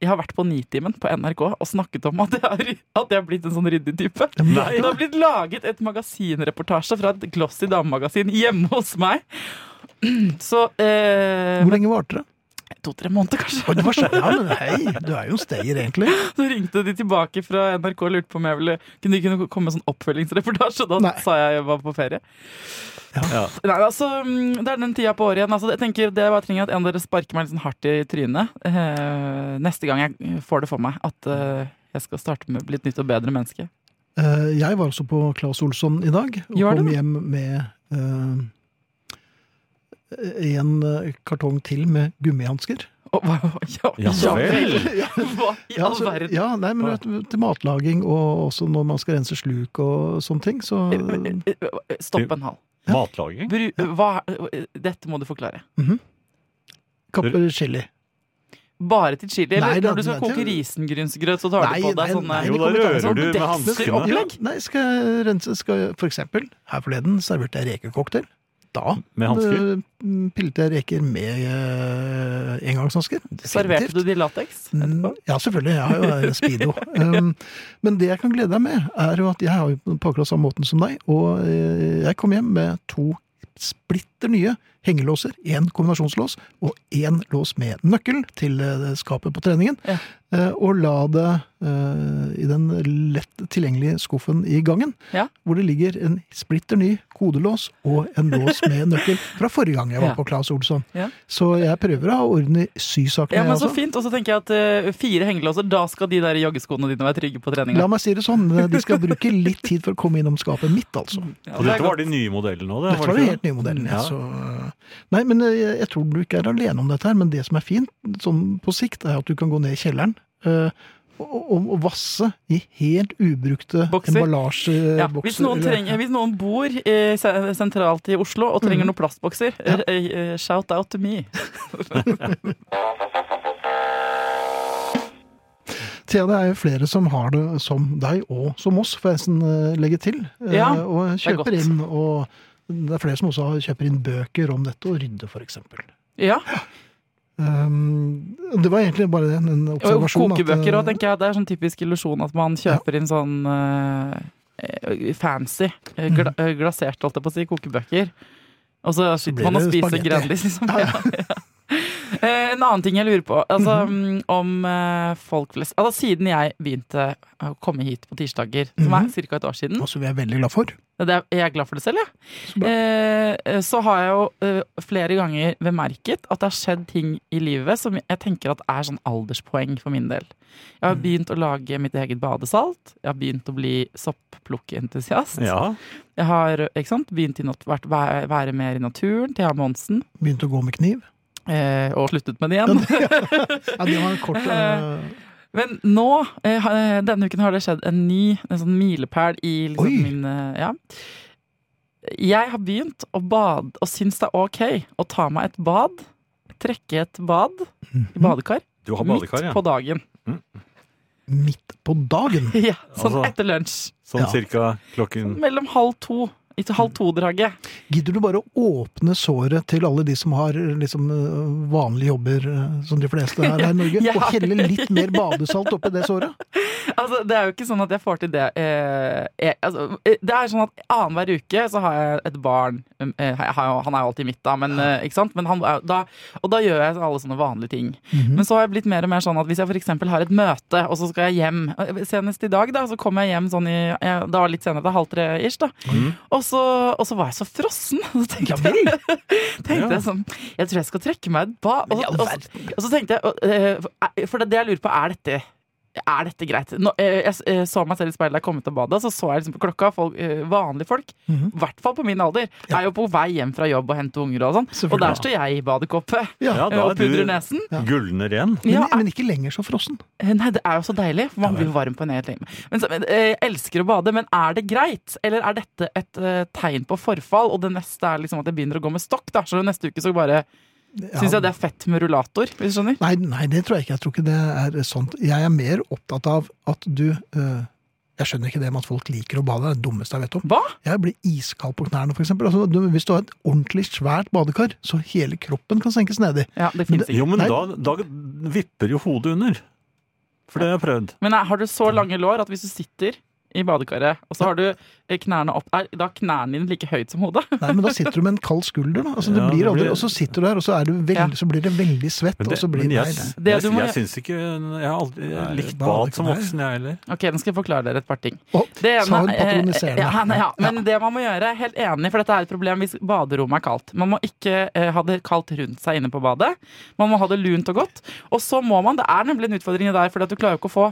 Speaker 4: Jeg har vært på Nitimen på NRK og snakket om at jeg har, at jeg har blitt en sånn ryddig type.
Speaker 1: Nei.
Speaker 4: Det har blitt laget et magasinreportasje fra et glossy damemagasin hjemme hos meg. Så eh,
Speaker 1: Hvor lenge varte det?
Speaker 4: To-tre måneder, kanskje.
Speaker 1: Å, det var sånn, ja, men hei, du er jo en stayer, egentlig.
Speaker 4: Så ringte de tilbake fra NRK og lurte på om jeg ville kunne, de kunne komme med sånn oppfølgingsreportasje. og Da
Speaker 1: Nei.
Speaker 4: sa jeg jeg var på ferie.
Speaker 2: Ja.
Speaker 4: Nei, altså, mm, Det er den tida på året igjen. Altså, jeg tenker Det jeg bare trenger at en av dere sparker meg litt sånn hardt i trynet eh, neste gang jeg får det for meg at eh, jeg skal starte med å bli et nytt og bedre menneske.
Speaker 1: Eh, Jeg var også på Claes Olsson i dag, og
Speaker 4: Gjør
Speaker 1: kom
Speaker 4: det.
Speaker 1: hjem med eh, en eh, kartong til med gummihansker.
Speaker 4: Og, hva- ja,
Speaker 2: Ja, så vel.
Speaker 1: Ja,
Speaker 4: Hva i
Speaker 1: ja,
Speaker 4: all
Speaker 1: så-
Speaker 4: verden?
Speaker 1: ja, nei, men du vet, til matlaging og også når man skal rense sluk og sånne ting, så
Speaker 4: Eh, Stopp en hal.
Speaker 2: Matlaging.
Speaker 4: Bru, hva, eh, dette må du forklare.
Speaker 1: kapper chili.
Speaker 4: Bare til chili? Eller
Speaker 1: Nei, det-
Speaker 4: når du skal
Speaker 1: det-
Speaker 4: koke risengrynsgrøt, så tar
Speaker 1: Nei,
Speaker 4: du på deg
Speaker 1: nei,
Speaker 4: sånne
Speaker 1: nei,
Speaker 2: Jo,
Speaker 1: det
Speaker 2: da
Speaker 1: kommer til å
Speaker 2: rører
Speaker 1: være
Speaker 2: du med
Speaker 4: sånn
Speaker 1: Men-
Speaker 2: hanskene.
Speaker 4: Opplegg?
Speaker 1: Ja, nei, skal jeg rense skal jeg, For eksempel, her forleden serverte jeg rekecocktail. Da
Speaker 2: Med hansker.
Speaker 1: eh, pilte jeg reker med eh, engangshansker.
Speaker 4: Serverte du de lateks?
Speaker 1: Mm, Ja, selvfølgelig. Jeg har jo en speedo. Um, men det jeg kan glede deg med, er jo at jeg har jo på akkurat samme måten som deg, og eh, jeg kom hjem med to splitter nye hengelåser. Én kombinasjonslås og én lås med nøkkel til eh, skapet på treningen.
Speaker 4: Ja.
Speaker 1: Eh, Og la det eh, i den lett tilgjengelige skuffen i gangen,
Speaker 4: Ja.
Speaker 1: hvor det ligger en splitter ny kodelås og en lås med nøkkel fra forrige gang jeg var
Speaker 4: Ja.
Speaker 1: på Claes Olsson.
Speaker 4: Ja.
Speaker 1: Så jeg prøver å ha orden i sysakene.
Speaker 4: Ja, men
Speaker 1: jeg
Speaker 4: så
Speaker 1: også.
Speaker 4: fint. Og så tenker jeg at eh, fire hengelåser, da skal de der joggeskoene dine være trygge på treninga.
Speaker 1: La meg si det sånn, de skal bruke litt tid for å komme innom skapet mitt, altså.
Speaker 4: Ja,
Speaker 2: Og
Speaker 4: det er
Speaker 2: dette var
Speaker 4: godt.
Speaker 2: de nye modellene òg, det?
Speaker 1: Dette var
Speaker 2: det
Speaker 1: den
Speaker 2: ikke
Speaker 1: helt nye modellen. Ja.
Speaker 2: Ja.
Speaker 1: Så, nei, men jeg, jeg tror du ikke er alene om dette her, men det som er fint sånn på sikt, er at du kan gå ned i kjelleren eh, og, og, og vasse i helt ubrukte
Speaker 4: Bokser. Ja,
Speaker 1: emballasjebokser.
Speaker 4: hvis, noen trenger, hvis noen bor eh, se- sentralt i Oslo og
Speaker 1: Mhm.
Speaker 4: trenger noen plastbokser, eh, eh, shout out to me.
Speaker 1: Thea, det er jo flere som har det som deg og som oss, får jeg nesten eh, legge til. eh,
Speaker 4: Ja,
Speaker 1: og
Speaker 4: er godt.
Speaker 1: kjøper inn, og det er flere som også har- kjøper inn bøker om dette, og rydde for eksempel.
Speaker 4: Ja,
Speaker 1: Um, det var egentlig bare en, en
Speaker 4: Og
Speaker 1: observasjon. at,
Speaker 4: kokebøker
Speaker 1: eh,
Speaker 4: òg, tenker jeg. Det er sånn typisk illusjon at man kjøper inn sånn eh, fancy, eh,
Speaker 1: Mm.
Speaker 4: gla eh, glasert, holdt jeg på å si, kokebøker. Og så
Speaker 1: blir
Speaker 4: sitter man
Speaker 1: det
Speaker 4: og spiser
Speaker 1: spagetti.
Speaker 4: Grandis, liksom. Ja, ja. Eh, en annen ting jeg lurer på, altså
Speaker 1: Mhm.
Speaker 4: mm, om eh, folk flest Altså siden jeg begynte å komme hit på tirsdager, som er
Speaker 1: Mhm.
Speaker 4: ca. et år siden
Speaker 1: Og som vi er veldig glad for.
Speaker 4: det er, Jeg er glad for det selv, jeg.
Speaker 1: Så bra.
Speaker 4: Eh, så har jeg jo eh, flere ganger bemerket at det har skjedd ting i livet som jeg tenker at er sånn alderspoeng for min del. Jeg har begynt å lage mitt eget badesalt. Jeg har begynt å bli sopplukkeentusiast.
Speaker 2: Ja.
Speaker 4: Jeg har ikke sant, begynt i nat vært, væ- være mer i naturen. Thea Monsen.
Speaker 1: Begynte å gå med kniv.
Speaker 4: Eh, og sluttet med det igjen.
Speaker 1: Ja, det var en kort eh,
Speaker 4: Men nå, eh, ha- denne uken har det skjedd en ny en sånn milepæl i liksom
Speaker 1: Oi.
Speaker 4: min eh, ja. Jeg har begynt å bade og syns det er ok å ta meg et bad. Trekke et bad i badekar
Speaker 2: Du har
Speaker 4: midt
Speaker 2: badekar, ja.
Speaker 4: på dagen.
Speaker 1: midt på dagen.
Speaker 4: Ja, sånn
Speaker 2: Altså-
Speaker 4: etter lunsj.
Speaker 2: Sånn
Speaker 1: Ja.
Speaker 2: cirka klokken
Speaker 4: Mellom halv to. Ikke halv to-draget.
Speaker 1: Gidder du bare å åpne såret til alle de som har eh, liksom, eh, vanlige jobber, eh, som de fleste her, her i Norge,
Speaker 4: Ja.
Speaker 1: og helle litt mer badesalt oppi det såret?
Speaker 4: Altså, det er jo ikke sånn at jeg får til det. Eh, jeg, altså, eh, det er sånn at Annenhver uke så har jeg et barn. Um, eh, jeg har, jo- han er jo alltid mitt, da. Men, eh, ikke sant? Men han, er jo- da og da gjør jeg alle sånne vanlige ting. Men så har jeg blitt mer og mer sånn at hvis jeg f.eks. har et møte, og så skal jeg hjem eh, Senest i dag, da, så kom jeg hjem sånn i jeg, Da var det litt senere, det er halv tre ish, da. Og, så, og så var jeg så frossen. Så tenkte jeg, tenkte jeg sånn Jeg tror jeg skal trekke meg et bad. Og, og, og, og så tenkte jeg eh, For det, det jeg lurer på, er dette er dette greit? Nå, eh, jeg s- eh, så meg selv i speilet da jeg kom ut av badet, så så jeg liksom på klokka. Folk, eh, vanlige folk, i
Speaker 1: Mhm.
Speaker 4: hvert fall på min alder, er jo på vei hjem fra jobb og hente unger og sånn. Og der
Speaker 1: Selvfølgelig.
Speaker 4: står jeg i badekåpe
Speaker 2: Ja,
Speaker 4: eh,
Speaker 2: da
Speaker 4: og
Speaker 2: er du
Speaker 4: pudrer nesen.
Speaker 2: gulner igjen.
Speaker 1: Men,
Speaker 4: Ja,
Speaker 1: men ikke lenger så frossen.
Speaker 4: eh, nei, det er jo så deilig. for Man blir jo varm på en hel time. Men, så, men, eh, jeg elsker å bade, men er det greit? Eller er dette et eh, tegn på forfall? Og det neste er liksom at jeg begynner å gå med stokk, da. Så neste uke så bare
Speaker 1: Ja.
Speaker 4: syns jeg det er fett med rullator, hvis du skjønner.
Speaker 1: Nei, nei, det tror jeg ikke. Jeg tror ikke det er sånt. Jeg er mer opptatt av at du eh, Jeg skjønner ikke det med at folk liker å bade. Det er det dummeste jeg vet om.
Speaker 4: Hva?
Speaker 1: Jeg blir iskald på knærne, f.eks. Altså, du- hvis du har et ordentlig svært badekar, så hele kroppen kan senkes nedi.
Speaker 4: Ja, det finnes ikke.
Speaker 2: Jo, men
Speaker 1: Nei.
Speaker 2: da, da vipper jo hodet under. For det har jeg prøvd.
Speaker 4: Men er, har du så lange lår at hvis du sitter i badekaret, og så har du eh, knærne opp Er da knærne dine like høyt som hodet?
Speaker 1: Nei, men da sitter du med en kald skulder, da. Altså, det
Speaker 2: Ja,
Speaker 1: blir
Speaker 2: det
Speaker 1: aldri,
Speaker 2: blir-
Speaker 1: Og så sitter du der, og så, er du veld,
Speaker 4: Ja.
Speaker 1: så blir det veldig svett,
Speaker 2: Men,
Speaker 1: og så
Speaker 2: det,
Speaker 1: blir
Speaker 2: men jeg,
Speaker 1: Nei, nei.
Speaker 2: jeg,
Speaker 4: Det du må
Speaker 2: jeg
Speaker 4: gjøre-
Speaker 2: syns ikke Jeg har aldri jeg har
Speaker 1: Nei,
Speaker 2: likt
Speaker 1: bare
Speaker 2: bad
Speaker 1: det
Speaker 2: som
Speaker 1: kan
Speaker 2: voksen, jeg heller.
Speaker 4: Ok, Nå skal jeg forklare dere et par ting.
Speaker 1: Å,
Speaker 4: ene-
Speaker 1: sa hun
Speaker 4: eh,
Speaker 1: patroniserende.
Speaker 4: Ja, nei, ja, men
Speaker 1: Ja.
Speaker 4: det man må gjøre, er helt enig, for dette er et problem hvis baderommet er kaldt. Man må ikke eh, ha det kaldt rundt seg inne på badet. Man må ha det lunt og godt. Og så må man, det er nemlig en utfordring der, for du klarer jo ikke å få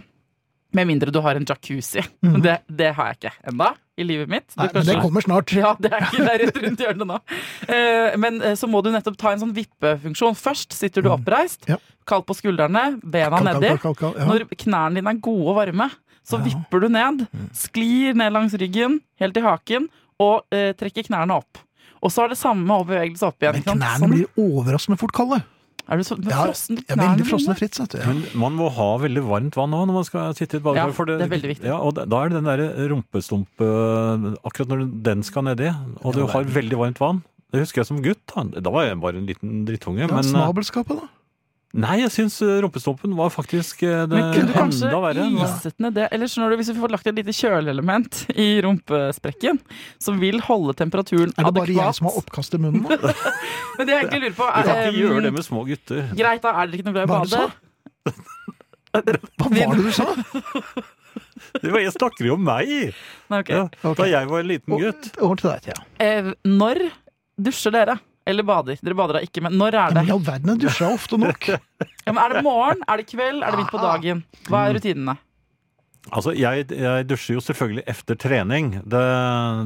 Speaker 4: med mindre du har en jacuzzi. Men Det, det har jeg ikke enda i livet mitt. Du
Speaker 1: Mhm. Nei, men det
Speaker 4: kanskje-
Speaker 1: kommer snart.
Speaker 4: ja, det er ikke det er rett rundt hjørnet nå. Eh, Men eh, så må du nettopp ta en sånn vippefunksjon. Først sitter du oppreist,
Speaker 1: Mm. Ja.
Speaker 4: kald på skuldrene, bena
Speaker 1: Kald, kald,
Speaker 4: nedi.
Speaker 1: kald, kald, kald, ja.
Speaker 4: Når knærne dine er gode og varme, så vipper du ned,
Speaker 1: Mm.
Speaker 4: sklir ned langs ryggen, helt til haken, og eh, trekker knærne opp. Og så er det samme og bevegelse opp igjen.
Speaker 1: Men
Speaker 4: ikke sant?
Speaker 1: knærne
Speaker 4: Sånn.
Speaker 1: blir overraskende fort kalde.
Speaker 4: Er du så
Speaker 1: Ja,
Speaker 4: frossen?
Speaker 1: ja, veldig
Speaker 4: knærne
Speaker 1: frosne
Speaker 4: dine?
Speaker 1: fritt, vet du. Ja.
Speaker 2: Men man må ha veldig varmt vann òg når man skal sitte i et badekar.
Speaker 4: Ja,
Speaker 2: for
Speaker 4: det er veldig viktig.
Speaker 2: Ja, og da- da er det den derre rumpestump øh, Akkurat når den skal nedi, og du har veldig varmt vann. Det husker jeg som gutt. Da, da var jeg bare en liten drittunge.
Speaker 1: Ja,
Speaker 2: men øh,
Speaker 1: snabelskapet, da.
Speaker 2: nei, jeg syns øh, rumpestumpen var faktisk øh, det
Speaker 4: Men kunne du kanskje
Speaker 2: enda verre.
Speaker 4: iset ned det? Eller skjønner du, hvis vi får lagt et lite kjøleelement i rumpesprekken, som vil holde temperaturen
Speaker 1: Er det bare jeg
Speaker 4: adekvat
Speaker 1: som har oppkast i munnen? nå?
Speaker 4: Men det jeg egentlig lurer på
Speaker 2: Du kan
Speaker 4: er um,
Speaker 2: ikke gjøre det med små gutter.
Speaker 4: Greit, da er dere ikke noe glad i å
Speaker 1: Hva er det
Speaker 4: bade.
Speaker 1: Hva var det du sa?
Speaker 2: Det var, jeg snakker jo om meg!
Speaker 4: Nei, ok.
Speaker 2: Ja,
Speaker 1: Ok.
Speaker 2: Da jeg var en liten gutt.
Speaker 1: Over til deg, Thea.
Speaker 4: Eh, når dusjer dere? Eller bader? Dere bader da ikke, men når er det?
Speaker 1: Men i all verden, jeg dusja ofte nok.
Speaker 4: Ja, men er det morgen? Er det kveld? Er det midt på dagen? Hva er rutinene?
Speaker 2: Altså, jeg, jeg dusjer jo selvfølgelig efter trening. Det,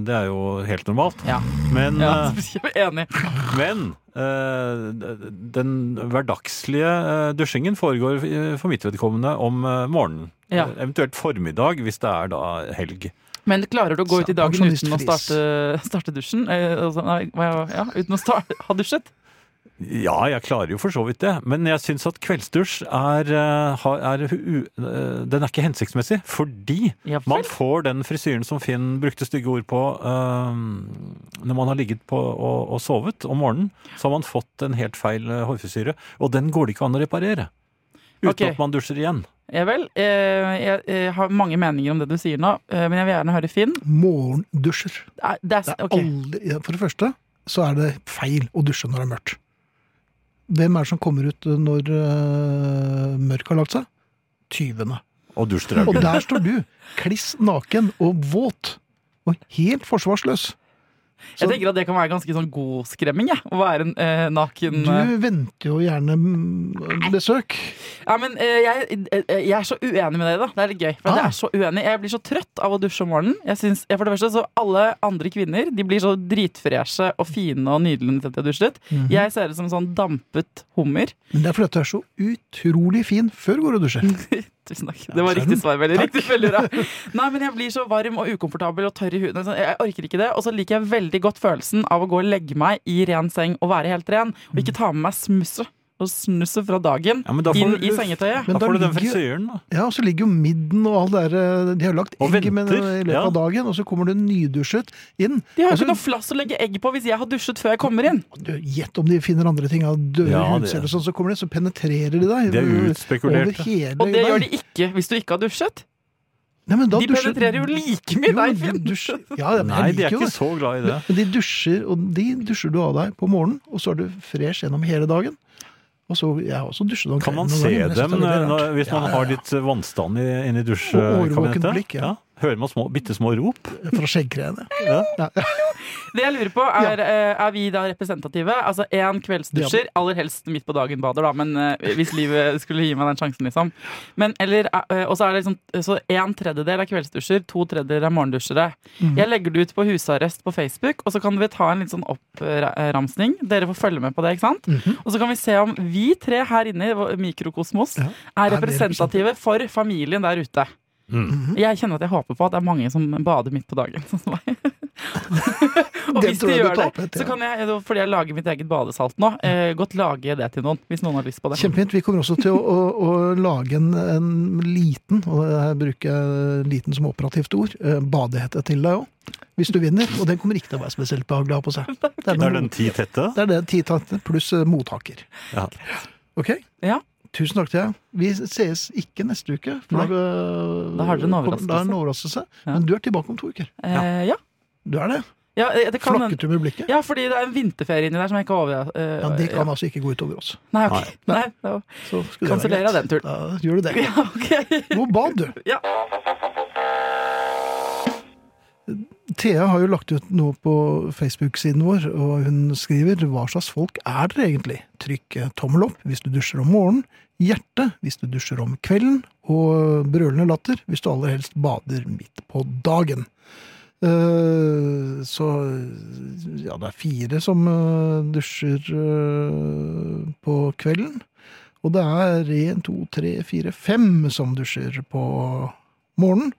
Speaker 2: det er jo helt normalt.
Speaker 4: Ja.
Speaker 2: Men,
Speaker 4: ja
Speaker 2: eh,
Speaker 4: jeg er enig.
Speaker 2: men eh, den hverdagslige eh, dusjingen foregår eh, for mitt vedkommende om eh, morgenen.
Speaker 4: Ja.
Speaker 2: Eh, Eventuelt formiddag, hvis det er da helg.
Speaker 4: Men klarer du å gå ut i dagen
Speaker 1: Pensjonist
Speaker 4: uten å
Speaker 1: Friis.
Speaker 4: starte, starte dusjen? Eh, altså, nei, hva- ja, uten å starte, ha dusjet?
Speaker 2: Ja, jeg klarer jo for så vidt det, men jeg syns at kveldsdusj er, eh, har- er u, eh, Den er ikke hensiktsmessig, fordi
Speaker 4: Ja,
Speaker 2: Man
Speaker 4: vel.
Speaker 2: får den frisyren som Finn brukte stygge ord på øhm, når man har ligget på og, og sovet om morgenen. Så har man fått en helt feil eh, hårfrisyre, og den går det ikke an å reparere. Uten
Speaker 4: Ok.
Speaker 2: at man dusjer igjen.
Speaker 4: Ja, vel. Eh, jeg, eh, har mange meninger om det du sier nå, eh, men jeg vil gjerne høre Finn. Eh,
Speaker 1: Morgendusjer.
Speaker 4: Det er, det er,
Speaker 1: Det er
Speaker 4: ok.
Speaker 1: aldri, ja, for det første så er det feil å dusje når det er mørkt. Hvem er det som kommer ut når uh, mørket har lagt seg? Tyvene.
Speaker 2: Og
Speaker 1: Og
Speaker 2: dusjdragen.
Speaker 1: der står du, kliss naken og våt. Og helt forsvarsløs.
Speaker 4: Jeg tenker at det kan være ganske sånn god skremming, jeg. Å være en eh, naken
Speaker 1: Du
Speaker 4: eh.
Speaker 1: venter jo gjerne mm, besøk.
Speaker 4: Ja, men eh, jeg, eh, jeg er så uenig med dere, da. Det er litt gøy. For
Speaker 1: Ah.
Speaker 4: jeg er så uenig. Jeg blir så trøtt av å dusje om morgenen. Jeg synes, jeg, for det første, så Alle andre kvinner de blir så dritfreshe og fine og nydelige etter at de har dusjet.
Speaker 2: Mhm.
Speaker 4: Jeg ser ut som en sånn dampet hummer.
Speaker 1: Men det er fordi at du er så utrolig fin før du går og dusjer.
Speaker 4: Mm. Tusen takk. Det var riktig svar. Veldig riktig. Veldig bra. Nei, men jeg blir så varm og ukomfortabel og tørr i huden. Sånn, Jeg orker ikke det. Og så liker jeg veldig godt følelsen av å gå og legge meg i ren seng og være helt ren. Og ikke ta med meg smusset og snusset fra dagen
Speaker 2: Mhm. Ja, men da får
Speaker 4: inn
Speaker 2: du-
Speaker 4: i sengetøyet.
Speaker 1: Men
Speaker 2: Da
Speaker 1: da
Speaker 2: får du den
Speaker 1: ligger-
Speaker 2: frisyren, da.
Speaker 1: Ja, og så ligger jo midden og alt det der eh, De har jo lagt
Speaker 2: Og
Speaker 1: egg med,
Speaker 2: venter,
Speaker 1: i løpet
Speaker 2: ja.
Speaker 1: av dagen, og så kommer du nydusjet inn.
Speaker 4: De har jo
Speaker 1: Altså-
Speaker 4: ikke noe flass å legge egg på hvis jeg har dusjet før jeg kommer inn.
Speaker 1: Og du, Gjett om de finner andre ting av døde
Speaker 2: Ja, det-
Speaker 1: hudceller og sånn, så kommer de, så penetrerer de deg.
Speaker 2: De er
Speaker 1: eh,
Speaker 2: utspekulerte.
Speaker 1: Over hele
Speaker 4: Og det
Speaker 1: deg.
Speaker 4: gjør de ikke hvis du ikke har dusjet.
Speaker 1: Nei, men da
Speaker 4: De
Speaker 1: dusjer-
Speaker 4: penetrerer jo like mye deg,
Speaker 1: de
Speaker 4: Finn.
Speaker 1: dusjer- Ja, men
Speaker 2: Nei,
Speaker 1: jeg
Speaker 2: de
Speaker 1: liker
Speaker 2: er
Speaker 1: jo
Speaker 2: ikke
Speaker 1: det.
Speaker 2: så glad i det.
Speaker 1: Men de dusjer, og de dusjer du av deg på morgenen, og så er du fresh gjennom hele dagen. Og så, jeg har også dusjet om
Speaker 2: Kan man
Speaker 1: kvelden noen
Speaker 2: se
Speaker 1: ganger, men jeg synes
Speaker 2: dem
Speaker 1: det
Speaker 2: eh,
Speaker 1: er veldig
Speaker 2: når,
Speaker 1: rart.
Speaker 2: hvis man
Speaker 1: Ja,
Speaker 2: har litt eh, vannstand i- inni
Speaker 1: Og årvåkent
Speaker 2: dusjkabinettet?
Speaker 1: blikk, ja.
Speaker 2: Hører man små, bitte små rop?
Speaker 1: ja, Fra skjeggkreene.
Speaker 2: Ja.
Speaker 1: Ja.
Speaker 4: Det jeg lurer på, er, eh, er vi da representative? Altså én kveldsdusjer, aller helst midt på dagen bader, da, men eh, hvis livet skulle gi meg den sjansen, liksom. Men eller eh, Og så er det liksom Så en tredjedel er kveldsdusjer, to tredjedeler er morgendusjere.
Speaker 1: Mhm.
Speaker 4: Jeg legger det ut på husarrest på Facebook, og så kan vi ta en litt sånn oppramsning. Dere får følge med på det, ikke sant?
Speaker 1: Mhm.
Speaker 4: Og så kan vi se om vi tre her inne i vår mikrokosmos
Speaker 1: Ja.
Speaker 4: er
Speaker 1: vi
Speaker 4: representative for familien der ute. Jeg kjenner at jeg håper på at det er mange som bader midt på dagen, sånn som meg. Og
Speaker 1: Den
Speaker 4: hvis
Speaker 1: tror
Speaker 4: de
Speaker 1: jeg du
Speaker 4: gjør det,
Speaker 1: tapet, ja.
Speaker 4: så kan jeg, fordi jeg lager mitt eget badesalt nå, eh, godt lage det til noen. Hvis noen har lyst på det.
Speaker 1: Kjempefint. Vi kommer også til å, å, å lage en, en liten, og her bruker jeg liten som operativt ord, eh, badehette til deg òg. Hvis du vinner. Og den kommer ikke til å være spesielt behagelig å ha på seg. Det
Speaker 2: Det er
Speaker 1: noe-
Speaker 2: den ti tette.
Speaker 1: det er det titante pluss eh, mottaker.
Speaker 2: Ja.
Speaker 1: OK?
Speaker 4: Ja.
Speaker 1: Tusen takk til deg. Vi sees ikke neste uke.
Speaker 4: Nei.
Speaker 1: eh,
Speaker 4: Da har dere en overraskelse.
Speaker 1: Da er det en overraskelse.
Speaker 4: Ja.
Speaker 1: Men du er tilbake om to uker.
Speaker 4: Eh, ja.
Speaker 1: Du er det.
Speaker 4: Ja, eh, det kan,
Speaker 1: Flakket du med blikket?
Speaker 4: ja, fordi det er en vinterferie inni der som jeg ikke har over... eh,
Speaker 1: Ja, Det kan
Speaker 4: ja.
Speaker 1: altså ikke gå utover oss.
Speaker 4: Nei, ok. Nei, det var-
Speaker 1: Så skulle det være
Speaker 4: Kansellerer
Speaker 1: greit.
Speaker 4: den turen.
Speaker 1: Da gjør du det.
Speaker 4: Ja, ok.
Speaker 1: Gå og bad, du.
Speaker 4: Ja.
Speaker 1: Thea har jo lagt ut noe på Facebook-siden vår, og hun skriver Hva slags folk er dere egentlig? Trykk tommel opp hvis du dusjer om morgenen, hjerte hvis du dusjer om kvelden, og brølende latter hvis du aller helst bader midt på dagen. Eh, så ja, det er fire som eh, dusjer eh, på kvelden. Og det er én, to, tre, fire, fem som dusjer på morgenen.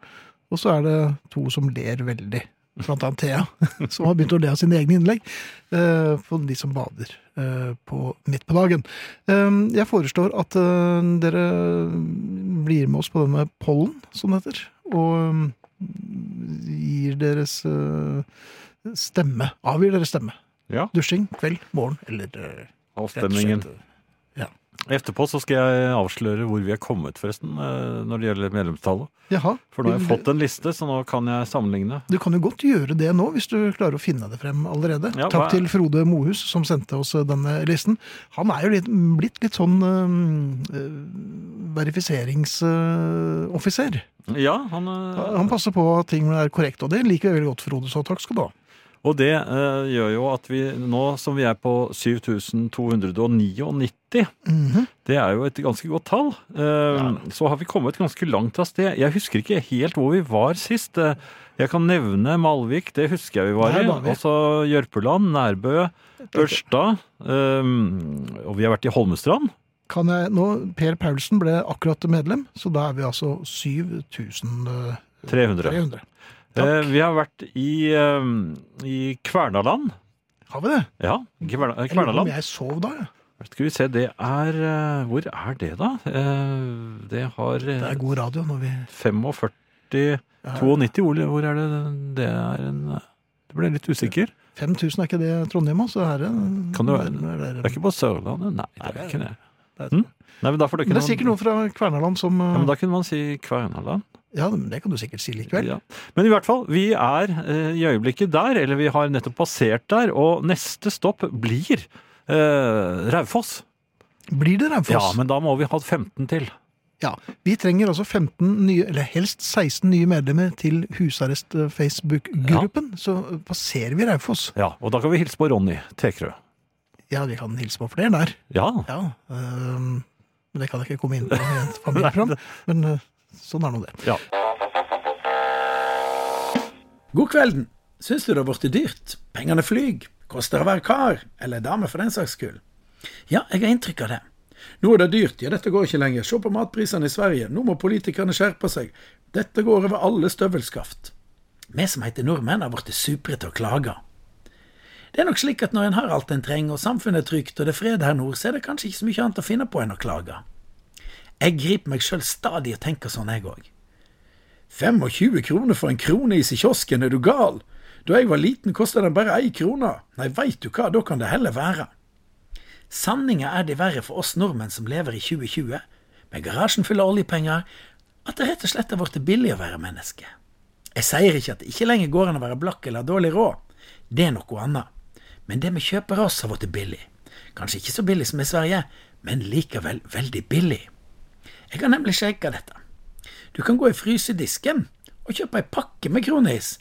Speaker 1: Og så er det to som ler veldig. Blant annet Thea, som har begynt å le av sine egne innlegg. eh, For de som bader eh, på, midt på dagen. Eh, Jeg foreslår at eh, dere blir med oss på denne pollen, som det heter. Og mm, gir deres eh, stemme. Avgir deres stemme.
Speaker 2: Ja.
Speaker 1: Dusjing kveld, morgen eller eh, rett og
Speaker 2: Avstemningen.
Speaker 1: slett,
Speaker 2: Etterpå så skal jeg avsløre hvor vi er kommet, forresten, eh, når det gjelder medlemstallet.
Speaker 1: Jaha.
Speaker 2: For nå har jeg fått en liste, så nå kan jeg sammenligne.
Speaker 1: Du kan jo godt gjøre det nå, hvis du klarer å finne det frem allerede.
Speaker 2: Ja,
Speaker 1: Takk
Speaker 2: hva-
Speaker 1: til Frode Mohus, som sendte oss eh, denne listen. Han er jo litt, blitt litt sånn eh, verifiseringsoffiser.
Speaker 2: Ja, han, eh,
Speaker 1: Han passer på at ting er korrekt, og det liker jeg veldig godt, Frode, så takk skal du ha.
Speaker 2: Og det eh, gjør jo at vi nå som vi er på 7299,
Speaker 1: Mhm.
Speaker 2: det er jo et ganske godt tall, eh, så har vi kommet ganske langt av sted. Jeg husker ikke helt hvor vi var sist. Eh, Jeg kan nevne Malvik, det husker jeg vi var
Speaker 1: Der
Speaker 2: i.
Speaker 1: var vi.
Speaker 2: Og så Jørpeland, Nærbø, Ørsta. eh, og vi har vært i Holmestrand.
Speaker 1: Kan jeg, nå, Per Paulsen ble akkurat medlem, så da er vi altså eh, 7300.
Speaker 2: 300.
Speaker 1: Takk.
Speaker 2: Eh, vi har vært i, eh, i Kvernaland.
Speaker 1: Har vi det?
Speaker 2: Ja, Kverna, eh,
Speaker 1: Jeg lurer på
Speaker 2: Kvernaland.
Speaker 1: Om jeg sov da, ja.
Speaker 2: Skal vi se, det er eh, Hvor er det, da? Eh, Det har
Speaker 1: Det
Speaker 2: eh,
Speaker 1: er god radio når vi
Speaker 2: 45 92, hvor, hvor er det det er en Du ble litt usikker?
Speaker 1: 5000 er ikke det Trondheim, altså? Her er en-
Speaker 2: Kan det være-
Speaker 1: er
Speaker 2: Det er ikke på Sørlandet? Nei, det er ikke det.
Speaker 1: det er-
Speaker 2: Hm? Nei, men da får du
Speaker 1: Men
Speaker 2: ikke
Speaker 1: det er sikkert noe fra Kvernaland som
Speaker 2: ja, men
Speaker 1: eh,
Speaker 2: Da kunne man si Kvernaland.
Speaker 1: Ja, men det kan du sikkert si likevel.
Speaker 2: Ja. Men i hvert fall, vi er eh, i øyeblikket der, eller vi har nettopp passert der, og neste stopp blir eh, Raufoss.
Speaker 1: Blir det
Speaker 2: Ja,
Speaker 1: Raufoss?
Speaker 2: men da må vi ha 15 til.
Speaker 1: Ja, Vi trenger altså 15 nye, eller helst 16 nye medlemmer til husarrest-Facebook-gruppen. Så passerer vi Raufoss.
Speaker 2: Ja, Og da kan vi hilse på Ronny Tekrø.
Speaker 1: Ja, vi kan hilse på flere der.
Speaker 2: Ja.
Speaker 1: Ja, øhm, men det kan jeg ikke komme inn på i et familieprogram. Men øh, sånn er nå det.
Speaker 2: ja.
Speaker 5: God kvelden. Syns du det har blitt dyrt? Pengene flyg. Koster å være kar, eller dame for den saks skyld. Ja, jeg har inntrykk av det. Nå er det dyrt, ja dette går ikke lenger. Se på matprisene i Sverige, nå må politikerne skjerpe seg. Dette går over alle støvelskaft. Vi som heter nordmenn har blitt supre til å klage. Det er nok slik at når en har alt en trenger, og samfunnet er trygt og det er fred her nord, så er det kanskje ikke så mye annet å finne på enn å klage. Jeg griper meg sjøl stadig og tenker sånn, jeg òg. 25 kroner for en kronis i kiosken, er du gal? Da jeg var liten kosta den bare ei krone. Nei, veit du hva, da kan det heller være. Sanninga er det verre for oss nordmenn som lever i 2020, med garasjen full av oljepenger, at det rett og slett er blitt billig å være menneske. Jeg sier ikke at det ikke lenger går an å være blakk eller ha dårlig råd, det er noe annet. Men det vi kjøper oss har blitt billig. Kanskje ikke så billig som i Sverige, men likevel veldig billig. Jeg har nemlig sjekka dette. Du kan gå i frysedisken og kjøpe ei pakke med kronis.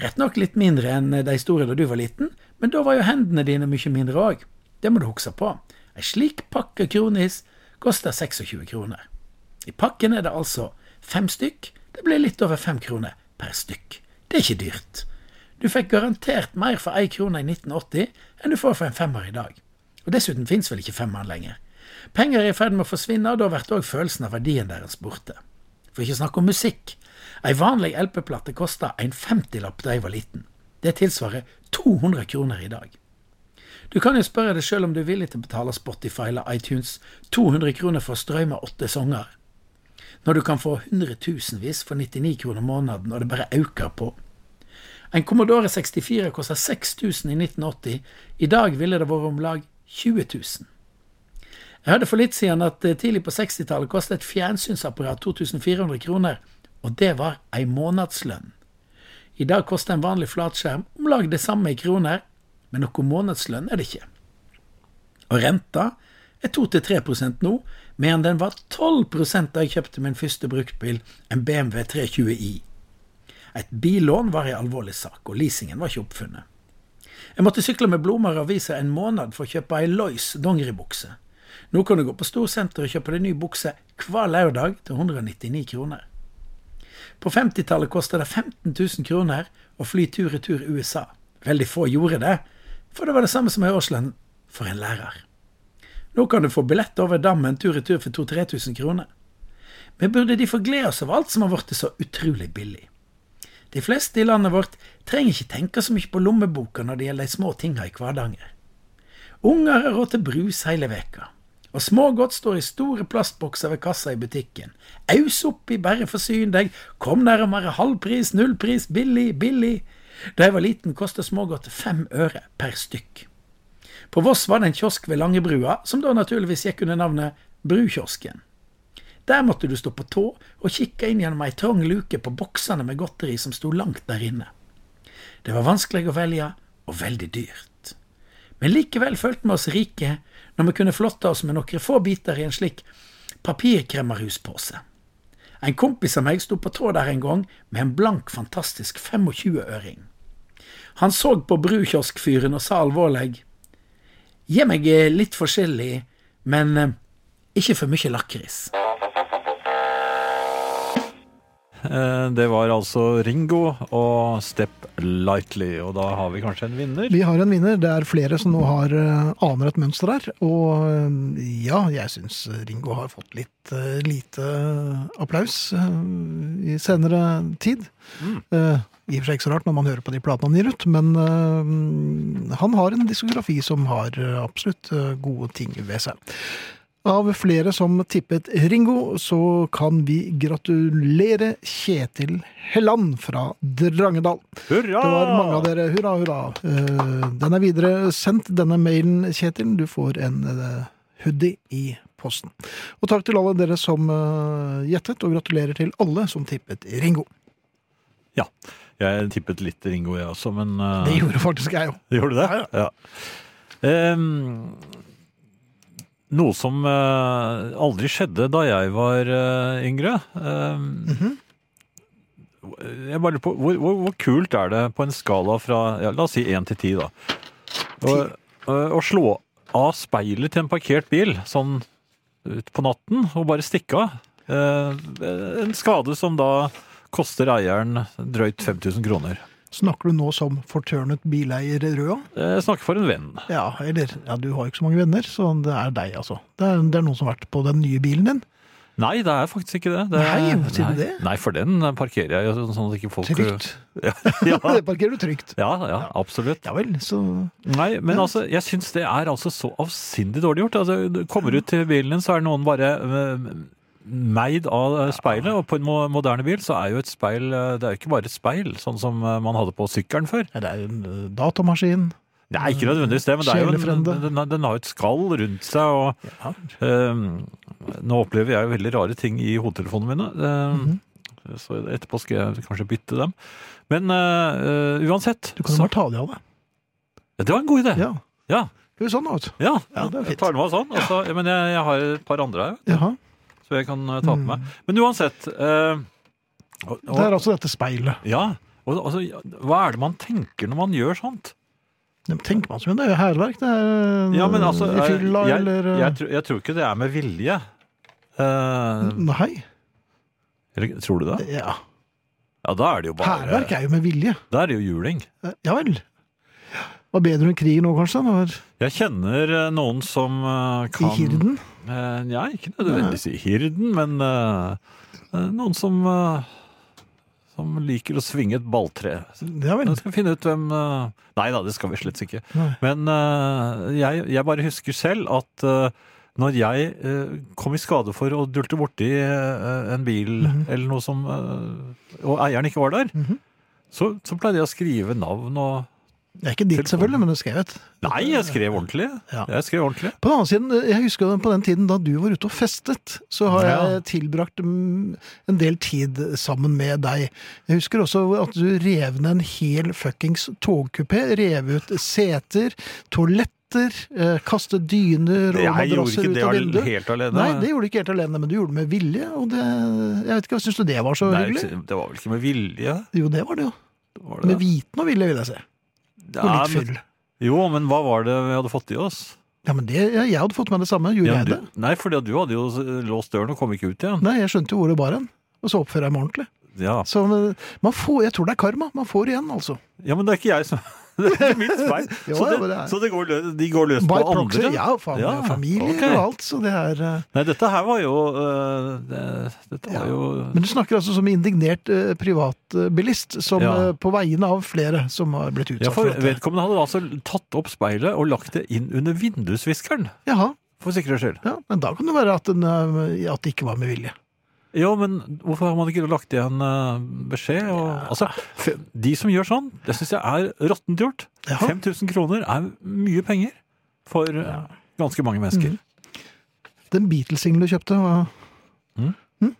Speaker 5: Rett nok litt mindre enn de store da du var liten, men da var jo hendene dine mye mindre òg. Det må du huske på. Ei slik pakke kronis koster 26 kroner. I pakken er det altså fem stykk. Det blir litt over fem kroner per stykk. Det er ikke dyrt. Du fikk garantert mer for ei krone i 1980 enn du får for en femmer i dag. Og dessuten fins vel ikke femmeren lenger. Penger er i ferd med å forsvinne, og da blir òg følelsen av verdien deres borte. For ikke å snakke om musikk. Ei vanlig LP-plate kosta en femtilapp da jeg var liten. Det tilsvarer 200 kroner i dag. Du kan jo spørre deg sjøl om du er villig til å betale Spotify eller iTunes 200 kroner for å strømme åtte sanger, når du kan få hundretusenvis for 99 kroner måneden, og det bare øker på. En Commodore 64 kosta 6000 i 1980, i dag ville det vært om lag 20 000. Jeg hørte for litt siden at eh, tidlig på 60-tallet kostet et fjernsynsapparat 2400 kroner, og det var ei månedslønn. I dag koster en vanlig flatskjerm om lag det samme i kroner, men noe månedslønn er det ikke. Og renta er 2-3 nå, medan den var 12 da jeg kjøpte min første bruktbil, en BMW 320i. Et billån var ei alvorlig sak, og leasingen var ikke oppfunnet. Jeg måtte sykle med blomster og aviser en måned for å kjøpe ei Lois dongeribukse. Nå kan du gå på Storsenteret og kjøpe deg ny bukse hver lørdag til 199 kroner. På 50-tallet kosta det 15 000 kroner å fly tur-retur USA. Veldig få gjorde det, for det var det samme som ei årslønn for en lærer. Nå kan du få billett over dammen tur-retur for 2000-3000 kroner. Vi burde de få glede oss over alt som har blitt så utrolig billig. De fleste i landet vårt trenger ikke tenke så mye på lommeboka når det gjelder de små tinga i hverdagen. Unger har råd til brus hele veka. Og smågodt står i store plastbokser ved kassa i butikken. Aus oppi, bare forsyn deg, kom nærmere halvpris, nullpris, billig, billig. Da jeg var liten, kosta smågodt fem øre per stykk. På Voss var det en kiosk ved Langebrua, som da naturligvis gikk under navnet Brukiosken. Der måtte du stå på tå og kikke inn gjennom ei trang luke på boksene med godteri som sto langt der inne. Det var vanskelig å velge, og veldig dyrt. Men likevel følte vi oss rike når vi kunne flotte oss med noen få biter i en slik papirkremmerhuspose. En kompis av meg sto på tå der en gang med en blank, fantastisk 25-øring. Han så på brukioskfyren og sa alvorlig Gi meg eh, litt forskjellig, men eh, ikke for mye lakris.
Speaker 2: Eh, Det var altså Ringo og Step Lightly, og da har vi kanskje en vinner?
Speaker 1: Vi har en vinner. Det er flere som nå har øh, aner et mønster her. Og øh, ja, jeg syns Ringo har fått litt øh, lite eh, applaus øh, i senere tid. Eh, I og for seg ikke så rart når man hører på de platene han gir ut, men øh, han har en diskografi som har øh, absolutt øh, gode ting ved seg. Av flere som tippet Ringo, så kan vi gratulere Kjetil Helland fra Drangedal.
Speaker 2: Hurra!
Speaker 1: Det var mange av dere. Hurra, hurra. Eh, Den er videre sendt, denne mailen, Kjetil. Du får en eh, hoodie i posten. Og takk til alle dere som eh, gjettet, og gratulerer til alle som tippet Ringo.
Speaker 2: Ja. Jeg tippet litt Ringo, jeg også, men eh,
Speaker 1: Det gjorde faktisk jeg òg.
Speaker 2: Gjorde du det? Ja. Ehm, Noe som eh, aldri skjedde da jeg var eh, yngre. Eh, Jeg bare lurer på, hvor, hvor, hvor kult er det på en skala fra ja, la oss si 1 til 10, da? Å- eh, Å slå av speilet til en parkert bil sånn ut på natten og bare stikke av. Eh, En skade som da koster eieren drøyt 5000 kroner.
Speaker 1: Snakker du nå som fortørnet bileier Røa?
Speaker 2: Eh, Jeg snakker for en venn.
Speaker 1: Ja, eller ja, du har jo ikke så mange venner, så det er deg, altså. Det er, det er noen som har vært på den nye bilen din.
Speaker 2: Nei, det er faktisk ikke det. det er,
Speaker 1: Nei, hva sier du
Speaker 2: nei,
Speaker 1: det?
Speaker 2: Nei, for den parkerer jeg jo sånn at ikke folk
Speaker 1: Trygt.
Speaker 2: Ja,
Speaker 1: Det parkerer du trygt.
Speaker 2: ja, ja absolutt.
Speaker 1: Ja vel, så
Speaker 2: Nei, men altså, jeg syns det er altså så avsindig dårlig gjort. Altså, du kommer ut til bilen din, så er noen bare eh, meid av eh, speilet. Og på en mo- moderne bil så er jo et speil eh, Det er jo ikke bare et speil, sånn som eh, man hadde på sykkelen før.
Speaker 1: ja, Det er jo en eh, datamaskin.
Speaker 2: Nei, ikke nødvendigvis det, men det er jo en,
Speaker 1: Sjelefrende.
Speaker 2: den, den har jo et skall rundt seg. og...
Speaker 1: Ja.
Speaker 2: Ehm, Nå opplever jeg jo veldig rare ting i hodetelefonene mine.
Speaker 1: Mhm.
Speaker 2: ehm, Så etterpå skal jeg kanskje bytte dem. Men eh, eh, uansett
Speaker 1: Du kan jo
Speaker 2: så,
Speaker 1: bare ta det av deg.
Speaker 2: Ja, Det var en god idé! Ja.
Speaker 1: Ja.
Speaker 2: Ja,
Speaker 1: Skal vi sånn, da, vet du. Ja, det er
Speaker 2: jeg
Speaker 1: fint.
Speaker 2: tar det med meg sånn. og så- ja, men jeg, jeg har et par andre her,
Speaker 1: Jaha.
Speaker 2: så jeg kan eh, ta på meg.
Speaker 1: Mm.
Speaker 2: Men uansett eh, og, og,
Speaker 1: Det er altså dette speilet.
Speaker 2: Ja. Og, altså, ja, hva er det man tenker når man gjør sånt?
Speaker 1: Det tenker man som en det er jo hærverk, det er eh,
Speaker 2: Ja, men altså,
Speaker 1: i
Speaker 2: eh,
Speaker 1: fylla
Speaker 2: jeg,
Speaker 1: eller eh,
Speaker 2: jeg, tror- jeg tror ikke det er med vilje. Eh,
Speaker 1: Nei.
Speaker 2: eller, tror du det?
Speaker 1: Ja.
Speaker 2: Ja, da er det jo bare
Speaker 1: Hærverk er jo med vilje.
Speaker 2: Da er det jo juling.
Speaker 1: Eh, Ja vel. Var bedre enn krig nå, kanskje? Det var
Speaker 2: Jeg kjenner eh, noen som eh,
Speaker 1: I
Speaker 2: kan
Speaker 1: hirden?
Speaker 2: Eh, ja, ikke nødvendigvis i hirden, men eh, eh, noen som eh, som liker å svinge et balltre.
Speaker 1: Ja vel.
Speaker 2: Nå skal vi finne ut hvem eh, Nei da, det skal vi slett ikke.
Speaker 1: Nei.
Speaker 2: Men eh, jeg, jeg bare husker selv at eh, når jeg eh, kom i skade for å dulte borti eh, en bil
Speaker 1: Mhm.
Speaker 2: eller noe som eh, Og eieren ikke var der, så, så pleide jeg å skrive navn og
Speaker 1: Det er ikke ditt, selvfølgelig, men det skrev et.
Speaker 2: Nei, jeg skrev ordentlig.
Speaker 1: Ja.
Speaker 2: Jeg skrev ordentlig.
Speaker 1: På den annen side, jeg husker jo på den tiden da du var ute og festet, så har
Speaker 2: Ja.
Speaker 1: jeg tilbrakt mm, en del tid sammen med deg. Jeg husker også at du rev ned en hel fuckings togkupé, rev ut seter, toaletter, eh, kastet dyner og
Speaker 2: Jeg gjorde
Speaker 1: madrasser
Speaker 2: ikke
Speaker 1: ut
Speaker 2: det
Speaker 1: av
Speaker 2: al-
Speaker 1: vinduet.
Speaker 2: helt alene.
Speaker 1: Nei, det gjorde du ikke helt alene, men du gjorde det med vilje, og det, jeg vet ikke, syns du det var så
Speaker 2: Nei,
Speaker 1: hyggelig?
Speaker 2: det var vel ikke med vilje?
Speaker 1: Jo, det var det jo.
Speaker 2: Var det
Speaker 1: Med
Speaker 2: det?
Speaker 1: viten og vilje, vil jeg si. Og
Speaker 2: Ja,
Speaker 1: litt
Speaker 2: men-
Speaker 1: fyll.
Speaker 2: Jo, men hva var det vi hadde fått i oss?
Speaker 1: Ja, men det, jeg hadde fått med det samme, gjorde
Speaker 2: Ja,
Speaker 1: jeg det?
Speaker 2: du, nei, for du hadde jo s- låst døren og kom ikke ut igjen.
Speaker 1: Nei, jeg skjønte jo hvor det bar hen. Og så oppfører jeg meg ordentlig.
Speaker 2: Ja,
Speaker 1: Så men, man får, jeg tror det er karma. Man får igjen, altså.
Speaker 2: ja men det er ikke jeg som Det er ikke mitt feil.
Speaker 1: Jo,
Speaker 2: Så,
Speaker 1: ja, men det er-
Speaker 2: det, så det går løs, de går løs på
Speaker 1: By proxy.
Speaker 2: andre?
Speaker 1: Ja, faen,
Speaker 2: Ja,
Speaker 1: jeg har familie
Speaker 2: ok.
Speaker 1: og alt, så det er eh,
Speaker 2: Nei, dette her var jo øh, det, Dette var
Speaker 1: Ja.
Speaker 2: jo
Speaker 1: Men du snakker altså som indignert eh, privatbilist, som
Speaker 2: Ja.
Speaker 1: eh, på vegne av flere som har blitt utsatt
Speaker 2: ja, for
Speaker 1: for, dette.
Speaker 2: Vedkommende hadde altså tatt opp speilet og lagt det inn under vindusviskeren,
Speaker 1: Jaha,
Speaker 2: for sikkerhets skyld.
Speaker 1: ja, men da kan det være at, den, eh, at det ikke var med vilje.
Speaker 2: Ja, men hvorfor har man ikke lagt igjen eh, beskjed? Og, altså, fe- de som gjør sånn, det syns jeg er råttent gjort.
Speaker 1: Ja.
Speaker 2: 5000 kroner er mye penger for eh, ganske mange
Speaker 1: Mhm.
Speaker 2: mennesker.
Speaker 1: Den Beatles-singelen du kjøpte var
Speaker 2: Mm.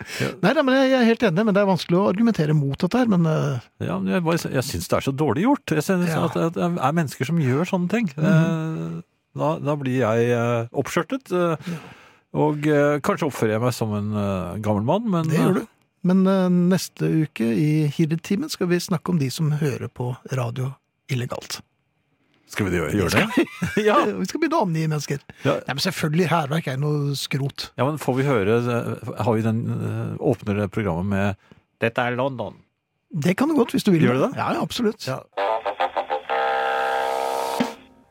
Speaker 1: Hm? Nei, nei, men jeg jeg er helt enig, men det er vanskelig å argumentere mot dette her. Men eh,
Speaker 2: Ja, men jeg bare- jeg syns det er så dårlig gjort. Jeg synes
Speaker 1: Ja. Mhm.
Speaker 2: at at det er mennesker som gjør sånne ting. Eh, Da, da blir jeg eh, oppskjørtet. eh, Og eh, kanskje oppfører jeg meg som en eh, gammel mann, men
Speaker 1: Det gjør du. Men eh, neste uke i Hird-timen skal vi snakke om de som hører på radio illegalt.
Speaker 2: Skal vi gjøre, gjøre det? ja.
Speaker 1: Eh, Vi skal begynne å angi mennesker.
Speaker 2: Ja.
Speaker 1: Nei, men selvfølgelig, hærverk er noe skrot.
Speaker 2: ja, men får vi høre eh, Har vi den eh, Åpner det programmet med 'Dette er London'?
Speaker 1: Det kan du godt, hvis du vil.
Speaker 2: Gjør du det?
Speaker 1: Ja, ja, absolutt.
Speaker 2: Ja.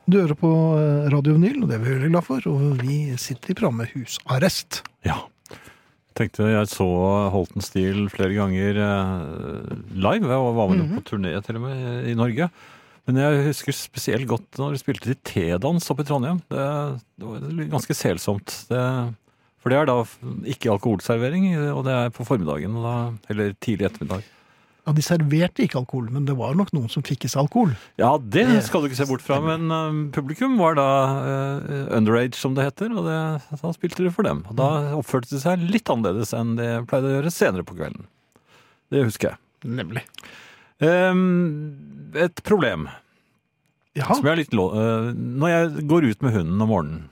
Speaker 1: Du hører på eh, Radio Vinyl, og det er vi veldig glad for. Og vi sitter i programmet Husarrest.
Speaker 2: Ja. Tenkte jeg så Holten Steel flere ganger eh, live, og var med på turné til og med i Norge. Men jeg husker spesielt godt når de spilte til T-dans oppe i Trondheim. Det, det var ganske selsomt. Det, for det er da ikke alkoholservering, og det er på formiddagen, og da, eller tidlig ettermiddag.
Speaker 1: Ja, De serverte ikke alkohol, men det var nok noen som fikk i seg alkohol.
Speaker 2: Ja, det skal du ikke se bort fra, men eh, publikum var da eh, underage, som det heter, og det, da spilte de for dem. Og da oppførte de seg litt annerledes enn de pleide å gjøre senere på kvelden. Det husker jeg.
Speaker 1: Nemlig.
Speaker 2: Ehm, et problem.
Speaker 1: Jaha.
Speaker 2: Som jeg er litt lå... eh, Når jeg går ut med hunden om morgenen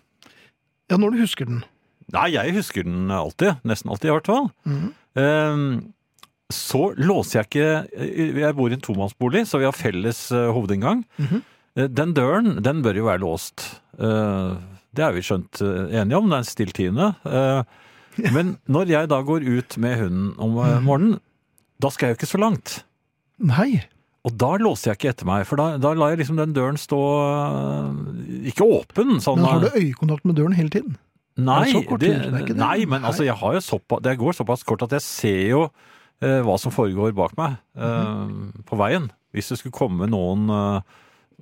Speaker 1: Ja, når du husker den.
Speaker 2: Nei, jeg husker den alltid. Nesten alltid, i hvert fall.
Speaker 1: Mhm.
Speaker 2: Ehm, så låser jeg ikke eh, Jeg bor i en tomannsbolig, så vi har felles eh, hovedinngang.
Speaker 1: Mhm.
Speaker 2: Eh, Den døren, den bør jo være låst. Eh, det er vi skjønt eh, enige om, det er en still tiende. Eh, men når jeg da går ut med hunden om
Speaker 1: Mhm.
Speaker 2: eh, morgenen, da skal jeg jo ikke så langt.
Speaker 1: Nei.
Speaker 2: Og da låser jeg ikke etter meg, for da, da lar jeg liksom den døren stå eh, Ikke åpen, sånn
Speaker 1: Men har
Speaker 2: eh,
Speaker 1: du øyekontakt med døren hele tiden?
Speaker 2: Nei,
Speaker 1: Er det så kort
Speaker 2: det,
Speaker 1: tid? Det er ikke det.
Speaker 2: nei men altså, jeg har jo såpass, det går såpass kort at jeg ser jo eh, hva som foregår bak meg eh,
Speaker 1: Mhm.
Speaker 2: på veien. Hvis det skulle komme noen eh,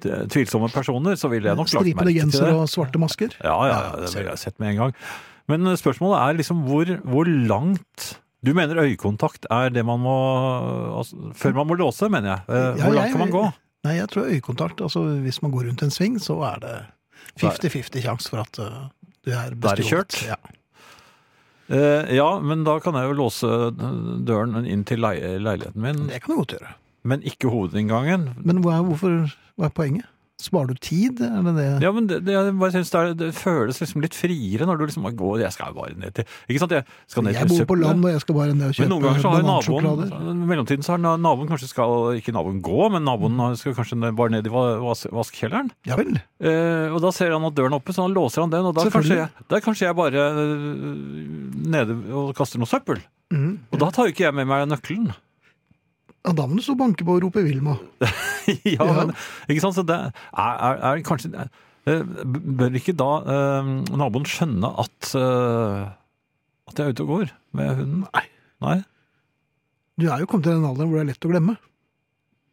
Speaker 2: t- tvilsomme personer, så ville jeg nok lagt
Speaker 1: Stripede
Speaker 2: merke til
Speaker 1: genser
Speaker 2: det.
Speaker 1: og svarte masker?
Speaker 2: Ja, ja, ja, det ville jeg sett med en gang. Men eh, spørsmålet er liksom hvor, hvor langt Du mener øyekontakt er det man må altså, Før man må låse, mener jeg.
Speaker 1: Ja,
Speaker 2: Eh, hvor langt
Speaker 1: jeg-
Speaker 2: kan man gå?
Speaker 1: Nei, jeg tror øyekontakt altså Hvis man går rundt en sving, så er det 50-50 sjanse for at uh, du er
Speaker 2: Da er det
Speaker 1: bestjålet.
Speaker 2: kjørt.
Speaker 1: Ja.
Speaker 2: Eh, ja, men da kan jeg jo låse eh, døren inn til lei- leiligheten min,
Speaker 1: Det kan du godt gjøre.
Speaker 2: men ikke hovedinngangen.
Speaker 1: Men hva er, hvorfor, hva er poenget? Sparer du tid? Er det det?
Speaker 2: Ja, men det, det, jeg bare synes det, er, det føles liksom litt friere når du liksom bare går Jeg skal jo bare ned til Ikke sant? Jeg skal ned
Speaker 1: jeg
Speaker 2: til
Speaker 1: bor på
Speaker 2: søpla.
Speaker 1: land, og jeg skal bare ned og
Speaker 2: Men
Speaker 1: kjøpe
Speaker 2: noen ganger så har naboen
Speaker 1: banansjokolader.
Speaker 2: I mellomtiden så har na- naboen kanskje skal Ikke naboen gå, men naboen skal kanskje ned- bare ned i va- vas- vaskekjelleren.
Speaker 1: Ja vel.
Speaker 2: Eh, og da ser han at døren er oppe, så han låser han den. Og da kanskje
Speaker 1: Selvfølgelig.
Speaker 2: jeg, da er kanskje jeg bare øh, nede og kaster noe søppel.
Speaker 1: Mhm.
Speaker 2: Og da tar jo ikke jeg med meg nøkkelen.
Speaker 1: Ja, da må du stå og banke på og rope Vilma.
Speaker 2: ja,
Speaker 1: Ja.
Speaker 2: men ikke sant? Så det er, er, er kanskje eh, Bør ikke da eh, naboen skjønne at eh, At jeg er ute og går med hunden? Nei.
Speaker 1: Du er jo kommet til den alderen hvor det er lett å glemme.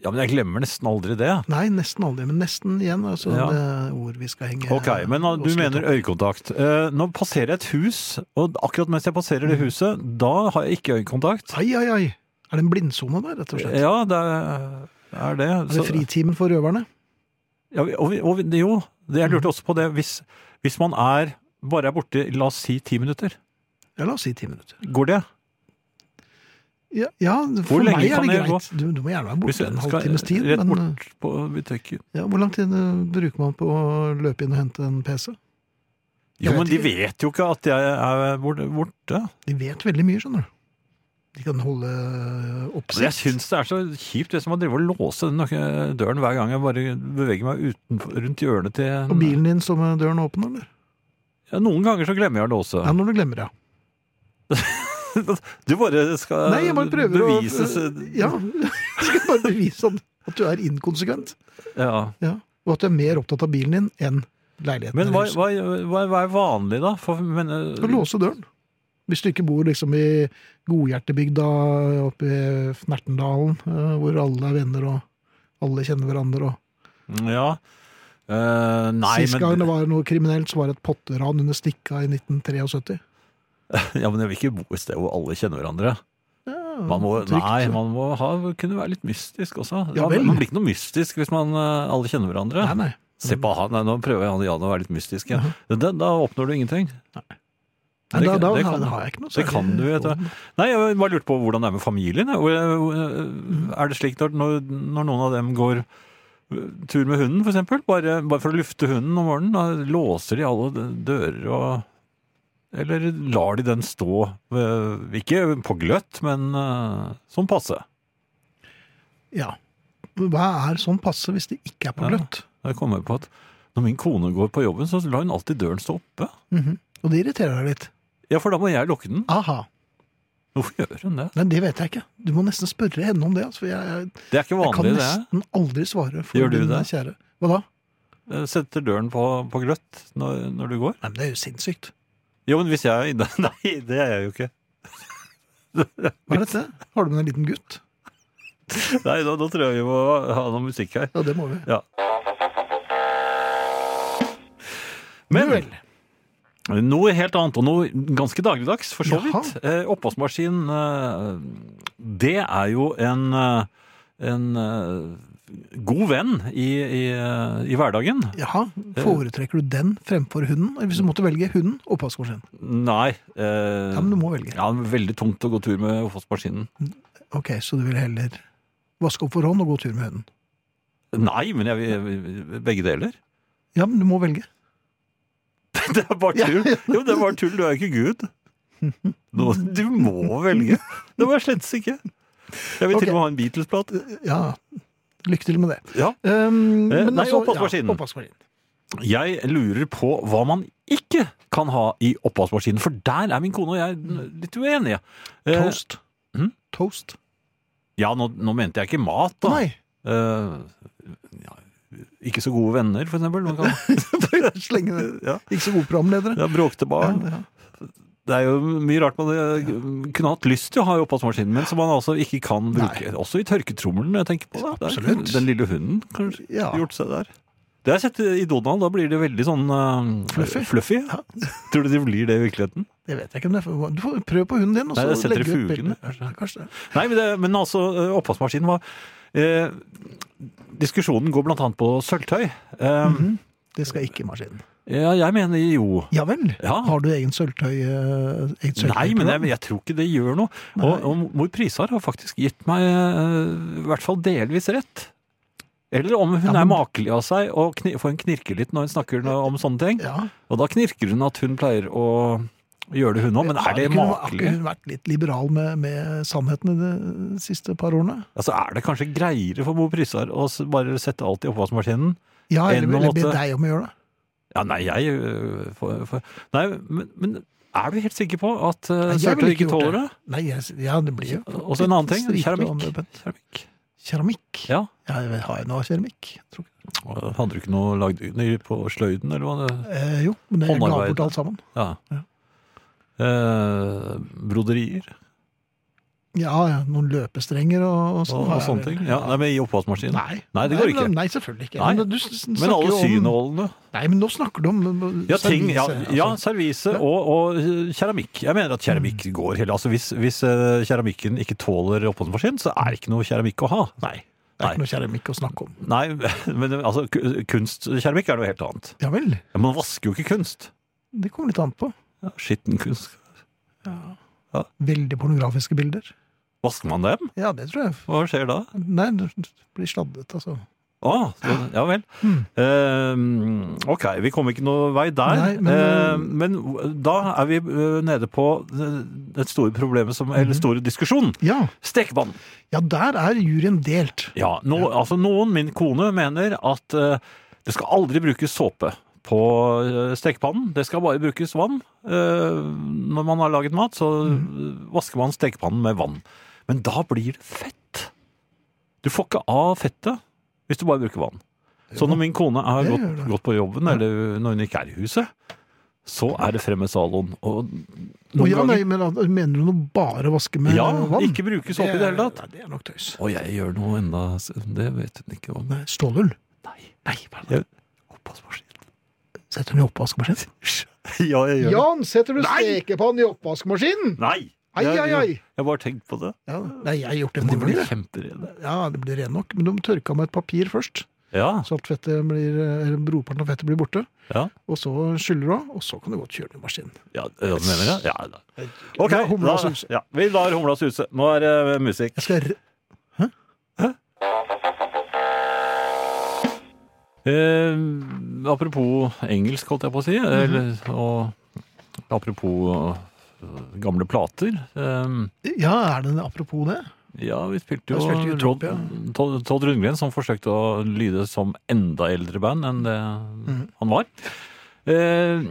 Speaker 2: Ja, men jeg glemmer nesten aldri det.
Speaker 1: Nei, nesten aldri, men nesten igjen. Altså,
Speaker 2: Ja.
Speaker 1: Det er ord vi skal henge
Speaker 2: Ok, men ah, du
Speaker 1: oss litt
Speaker 2: mener
Speaker 1: opp.
Speaker 2: øyekontakt. Eh, nå passerer jeg et hus, og akkurat mens jeg passerer det huset, da har jeg ikke øyekontakt.
Speaker 1: Ai, ai, ai. Er det en blindsone der, rett og slett?
Speaker 2: Ja, det er, er det.
Speaker 1: Er det
Speaker 2: Så-
Speaker 1: fritimen for røverne?
Speaker 2: Ja, og, vi- og vi- jo, det- jeg lurte også på det. Hvis, hvis man er bare er borte, la oss si ti minutter,
Speaker 1: Ja, la oss si ti minutter.
Speaker 2: går det?
Speaker 1: Ja, ja for
Speaker 2: lenge
Speaker 1: meg er
Speaker 2: kan
Speaker 1: det
Speaker 2: jeg
Speaker 1: greit. Du, du må gjerne være
Speaker 2: Hvis
Speaker 1: borte
Speaker 2: jeg
Speaker 1: en
Speaker 2: skal
Speaker 1: halvtimes tid.
Speaker 2: Rett
Speaker 1: Men
Speaker 2: bort på butikken.
Speaker 1: eh, ja, hvor lang tid eh, bruker man på å løpe inn og hente en PC?
Speaker 2: Jo,
Speaker 1: Jeg
Speaker 2: men
Speaker 1: vet
Speaker 2: de
Speaker 1: ikke.
Speaker 2: vet jo ikke at jeg er bort- borte.
Speaker 1: De vet veldig mye, skjønner du. De kan holde eh,
Speaker 2: Altså, jeg
Speaker 1: oppsikt.
Speaker 2: syns det er så kjipt hvis man driver og låser den nøk- døren hver gang jeg bare beveger meg utenfor, rundt hjørnet til
Speaker 1: Og bilen din står med døren åpen, eller?
Speaker 2: ja, Noen ganger så glemmer jeg å låse.
Speaker 1: Ja, når du glemmer, ja.
Speaker 2: Du bare skal
Speaker 1: Nei, jeg bare prøver
Speaker 2: bevise
Speaker 1: å Ja. Jeg skal bare bevise at- at du er inkonsekvent.
Speaker 2: ja.
Speaker 1: Ja. Og at du er mer opptatt av bilen din enn leiligheten.
Speaker 2: Men
Speaker 1: eller
Speaker 2: hva,
Speaker 1: huset.
Speaker 2: hva, hva, hva er vanlig, da? For, men, eh,
Speaker 1: Å låse døren. Hvis du ikke bor liksom i godhjertebygda oppe i Fnertendalen, eh, hvor alle er venner og alle kjenner hverandre. og
Speaker 2: ja. Eh, nei,
Speaker 1: Sist gang
Speaker 2: men,
Speaker 1: det var noe kriminelt, så var det et potteran under Stikka i 1973.
Speaker 2: ja, men jeg vil ikke bo et sted hvor alle kjenner hverandre.
Speaker 1: Ja,
Speaker 2: Man må,
Speaker 1: trygt.
Speaker 2: nei, man må ha, kunne være litt mystisk også.
Speaker 1: Ja vel.
Speaker 2: man blir ikke noe mystisk hvis man eh, alle kjenner hverandre.
Speaker 1: Nei, nei.
Speaker 2: Se på han, nei, nå prøver han Jan å være litt mystisk igjen. Da, da oppnår du ingenting.
Speaker 1: Nei,
Speaker 2: Det-
Speaker 1: da, da,
Speaker 2: det
Speaker 1: har-
Speaker 2: kan-
Speaker 1: da har jeg ikke noe
Speaker 2: Det kan du, vet du. Nei, jeg bare lurte på hvordan det er med familien. jeg. Og, eh, Er det slik når, når når noen av dem går eh, tur med hunden, for eksempel, bare, bare for å lufte hunden om morgenen, da låser de alle d- dører og Eller lar de den stå, eh, ikke på gløtt, men eh, sånn passe.
Speaker 1: Ja. Hva er sånn passe hvis det ikke er på
Speaker 2: Ja.
Speaker 1: gløtt?
Speaker 2: Jeg kom jeg på at når min kone går på jobben, så lar hun alltid døren stå oppe.
Speaker 1: Mhm. Og det irriterer deg litt.
Speaker 2: Ja, for da må jeg lukke den.
Speaker 1: Aha.
Speaker 2: Hvorfor gjør hun det?
Speaker 1: Nei, det vet jeg ikke. Du må nesten spørre henne om det. Altså, for jeg, jeg,
Speaker 2: Det er ikke
Speaker 1: jeg kan
Speaker 2: vanlig, det.
Speaker 1: nesten aldri svare for
Speaker 2: Gjør du
Speaker 1: din
Speaker 2: det?
Speaker 1: kjære. Hva da?
Speaker 2: Jeg Eh, Setter døren på, på gløtt når, når du går.
Speaker 1: Nei, men det er jo sinnssykt.
Speaker 2: Jo, men hvis jeg er inne Nei, det er jeg jo ikke.
Speaker 1: Hva er dette? Har du med en liten gutt?
Speaker 2: Nei, da, da tror jeg vi må ha noe musikk her.
Speaker 1: Ja, det må vi.
Speaker 2: Men
Speaker 1: Vel.
Speaker 2: noe helt annet, og noe ganske dagligdags, for så
Speaker 1: Jaha.
Speaker 2: vidt. Eh, oppvaskmaskin, eh, det er jo en, eh, en eh, god venn i, i, eh, i hverdagen.
Speaker 1: Jaha, foretrekker du den fremfor hunden? Hvis du måtte velge hunden, oppvaskmaskinen.
Speaker 2: Nei. Eh,
Speaker 1: Ja, men du må velge.
Speaker 2: Ja, men veldig tungt å gå tur med oppvaskmaskinen.
Speaker 1: Ok, så du vil heller vaske opp for hånd og gå tur med hunden.
Speaker 2: Nei, men jeg vil begge deler.
Speaker 1: Ja, men du må velge.
Speaker 2: Det er bare tull. Jo, det er bare tull. Du er jo ikke Gud. Nå, du må velge. Det var slett ikke. Jeg vil
Speaker 1: Ok.
Speaker 2: til og med ha en Beatles-plate.
Speaker 1: Ja, lykke til med det.
Speaker 2: Ja.
Speaker 1: Um,
Speaker 2: Eh,
Speaker 1: men
Speaker 2: nei,
Speaker 1: altså,
Speaker 2: oppvaskmaskinen.
Speaker 1: Ja, oppvaskmaskinen.
Speaker 2: Jeg lurer på hva man ikke kan ha i oppvaskmaskinen, for der er min kone og jeg litt uenige. Eh,
Speaker 1: Toast.
Speaker 2: hm?
Speaker 1: Toast?
Speaker 2: Ja, nå, nå mente jeg ikke mat, da.
Speaker 1: Nei,
Speaker 2: Eh, ja, ikke så gode venner, for eksempel. Man kan,
Speaker 1: slenge det.
Speaker 2: ja,
Speaker 1: Ikke så gode programledere.
Speaker 2: ja, bråkte barn.
Speaker 1: Ja, ja.
Speaker 2: Det er jo mye rart man eh, kunne hatt lyst til å ha i oppvaskmaskinen, men som man altså ikke kan bruke. Også i tørketrommelen, jeg tenker på det. Der,
Speaker 1: Absolutt.
Speaker 2: Den lille hunden kanskje
Speaker 1: Ja.
Speaker 2: gjort seg der. Det har jeg sett i Donald, da blir det veldig sånn eh,
Speaker 1: Fluffy.
Speaker 2: ja. Tror du det blir det i virkeligheten?
Speaker 1: Det vet jeg ikke om det er. Du får prøve på hunden din. Og
Speaker 2: Nei,
Speaker 1: så
Speaker 2: jeg setter
Speaker 1: legge ut
Speaker 2: i fugen,
Speaker 1: bilder. Kanskje det.
Speaker 2: Nei, men, det, men altså, eh, oppvaskmaskinen var eh, Diskusjonen går blant annet på sølvtøy. Eh,
Speaker 1: Mhm. Det skal ikke i maskinen.
Speaker 2: Ja, jeg mener jo
Speaker 1: Ja vel.
Speaker 2: Ja.
Speaker 1: Har du egen sølvtøy? eh, Eget
Speaker 2: Nei, men jeg,
Speaker 1: sølvtøyprogram?
Speaker 2: jeg tror ikke det gjør noe. Og, og mor Prisar har faktisk gitt meg eh, i hvert fall delvis rett. Eller om hun
Speaker 1: Ja, men-
Speaker 2: er makelig av seg, og kni, for hun knirker litt når hun snakker nå om sånne ting.
Speaker 1: Ja.
Speaker 2: Og da knirker hun at hun pleier å gjøre det hun òg, men er det
Speaker 1: Har ikke- Har ikke
Speaker 2: makelig?
Speaker 1: hun vært litt liberal med, med sannheten i de siste par årene?
Speaker 2: Altså, er det kanskje greiere for mor Prisar å s- bare sette alt i oppvaskmaskinen?
Speaker 1: Ja,
Speaker 2: Enn
Speaker 1: eller,
Speaker 2: å
Speaker 1: eller be
Speaker 2: måtte-
Speaker 1: deg om å gjøre det?
Speaker 2: Ja, nei, jeg eh, for, for, Nei, men, men er du helt sikker på at uh,
Speaker 1: Nei, jeg
Speaker 2: Sørtøy
Speaker 1: ville ikke
Speaker 2: ikke
Speaker 1: gjort
Speaker 2: tåler det?
Speaker 1: Nei, jeg, ja, det blir jo
Speaker 2: Og så en annen ting.
Speaker 1: Stripe og
Speaker 2: Keramikk.
Speaker 1: anrøpet.
Speaker 2: Keramikk.
Speaker 1: Keramikk?
Speaker 2: Ja.
Speaker 1: Ja, jeg vet- har jeg noe av keramikk? Jeg tror ikke.
Speaker 2: Hadde du ikke noe lagd under på sløyden, eller hva det
Speaker 1: Eh, jo, men jeg ga
Speaker 2: Håndarbeid.
Speaker 1: bort alt sammen.
Speaker 2: Ja. Eh, broderier
Speaker 1: Ja, ja, noen løpestrenger og, og,
Speaker 2: og,
Speaker 1: sånn.
Speaker 2: og sånne ting. Ja, nei, men I oppvaskmaskinen?
Speaker 1: Nei.
Speaker 2: Nei, det går ikke.
Speaker 1: Nei, selvfølgelig ikke.
Speaker 2: Nei.
Speaker 1: Men, du s- s- snakker
Speaker 2: Men alle
Speaker 1: jo om-
Speaker 2: synålene.
Speaker 1: Nei, men nå snakker du om
Speaker 2: Ja, ting, ja,
Speaker 1: servise,
Speaker 2: ja
Speaker 1: altså.
Speaker 2: servise og, og eh, keramikk. Jeg mener at keramikk
Speaker 1: Mm.
Speaker 2: går hele Altså hvis, hvis eh, keramikken ikke tåler oppvaskmaskin, så er det ikke noe keramikk å ha. Nei.
Speaker 1: Det er ikke noe keramikk å snakke om.
Speaker 2: Nei, men altså, ku- kunstkeramikk er noe helt annet.
Speaker 1: Ja vel.
Speaker 2: Ja, Man vasker jo ikke kunst.
Speaker 1: Det kommer litt an på.
Speaker 2: Ja, Skitten kunst.
Speaker 1: Veldig pornografiske bilder.
Speaker 2: Vasker man dem?
Speaker 1: Ja, det tror jeg.
Speaker 2: Hva skjer da?
Speaker 1: Nei, det blir sladdet, altså.
Speaker 2: Ah, så- ja vel. Eh, ok, vi kom ikke noe vei der.
Speaker 1: Nei, men-
Speaker 2: men, men da er vi eh, nede på eh, det det store problemet, som,
Speaker 1: Mhm.
Speaker 2: eller store diskusjonen.
Speaker 1: Ja,
Speaker 2: Stekepann.
Speaker 1: ja der er juryen delt.
Speaker 2: Ja, no, altså noen, min kone, mener at eh, det skal aldri brukes såpe på eh, stekepannen. Det skal bare brukes vann. Eh, når man har laget mat, så eh, vasker man stekepannen med vann. Men da blir det fett. Du får ikke av fettet hvis du bare bruker vann. Så når min kone har
Speaker 1: det
Speaker 2: gått,
Speaker 1: gjør det.
Speaker 2: gått på jobben, eller når hun ikke er i huset, så er det fremme saloen. Og
Speaker 1: Og
Speaker 2: noen
Speaker 1: ja, nei,
Speaker 2: ganger
Speaker 1: men at- Mener du nå bare vaske med
Speaker 2: Ja,
Speaker 1: eh, vann?
Speaker 2: ikke bruke såpe i det hele tatt.
Speaker 1: Nei, det er nok tøys.
Speaker 2: Og jeg gjør noe enda Det vet hun ikke om.
Speaker 1: Nei, Stålull?
Speaker 2: Nei.
Speaker 1: Nei, bare
Speaker 2: Jeg- Oppvaskmaskin.
Speaker 1: Setter den i oppvaskmaskinen?
Speaker 2: Ja, jeg gjør det.
Speaker 6: Jan, setter du stekepannen i oppvaskmaskinen?
Speaker 2: Nei!
Speaker 6: Ai,
Speaker 2: Jeg-
Speaker 6: ai, ai.
Speaker 2: Jeg har bare tenkt på det.
Speaker 1: Ja, nei, jeg har gjort det
Speaker 2: Men de
Speaker 1: mange
Speaker 2: blir
Speaker 1: ganger.
Speaker 2: kjemperedde.
Speaker 1: Ja, det blir ren nok. Men de tørka med et papir først,
Speaker 2: Ja,
Speaker 1: så at fettet blir, eller brorparten av fettet blir borte.
Speaker 2: ja.
Speaker 1: Og så skyller du av, og så kan du godt kjøre den i maskinen.
Speaker 2: ja det mener jeg. Ja, da. Ok,
Speaker 1: La humla
Speaker 2: da-
Speaker 1: suse.
Speaker 2: Ja, vi lar humla suse. Nå er det musikk.
Speaker 1: Jeg skal... r-
Speaker 2: Eh, apropos engelsk, holdt jeg på å si, eller, og apropos eh, gamle plater. Eh,
Speaker 1: Ja, er det apropos det?
Speaker 2: ja, vi spilte
Speaker 1: Jeg
Speaker 2: jo,
Speaker 1: spilte jo
Speaker 2: Todd-
Speaker 1: Utopia.
Speaker 2: Todd Todd Rundgren, som forsøkte å lyde som enda eldre band enn det
Speaker 1: Mm.
Speaker 2: han var. Eh,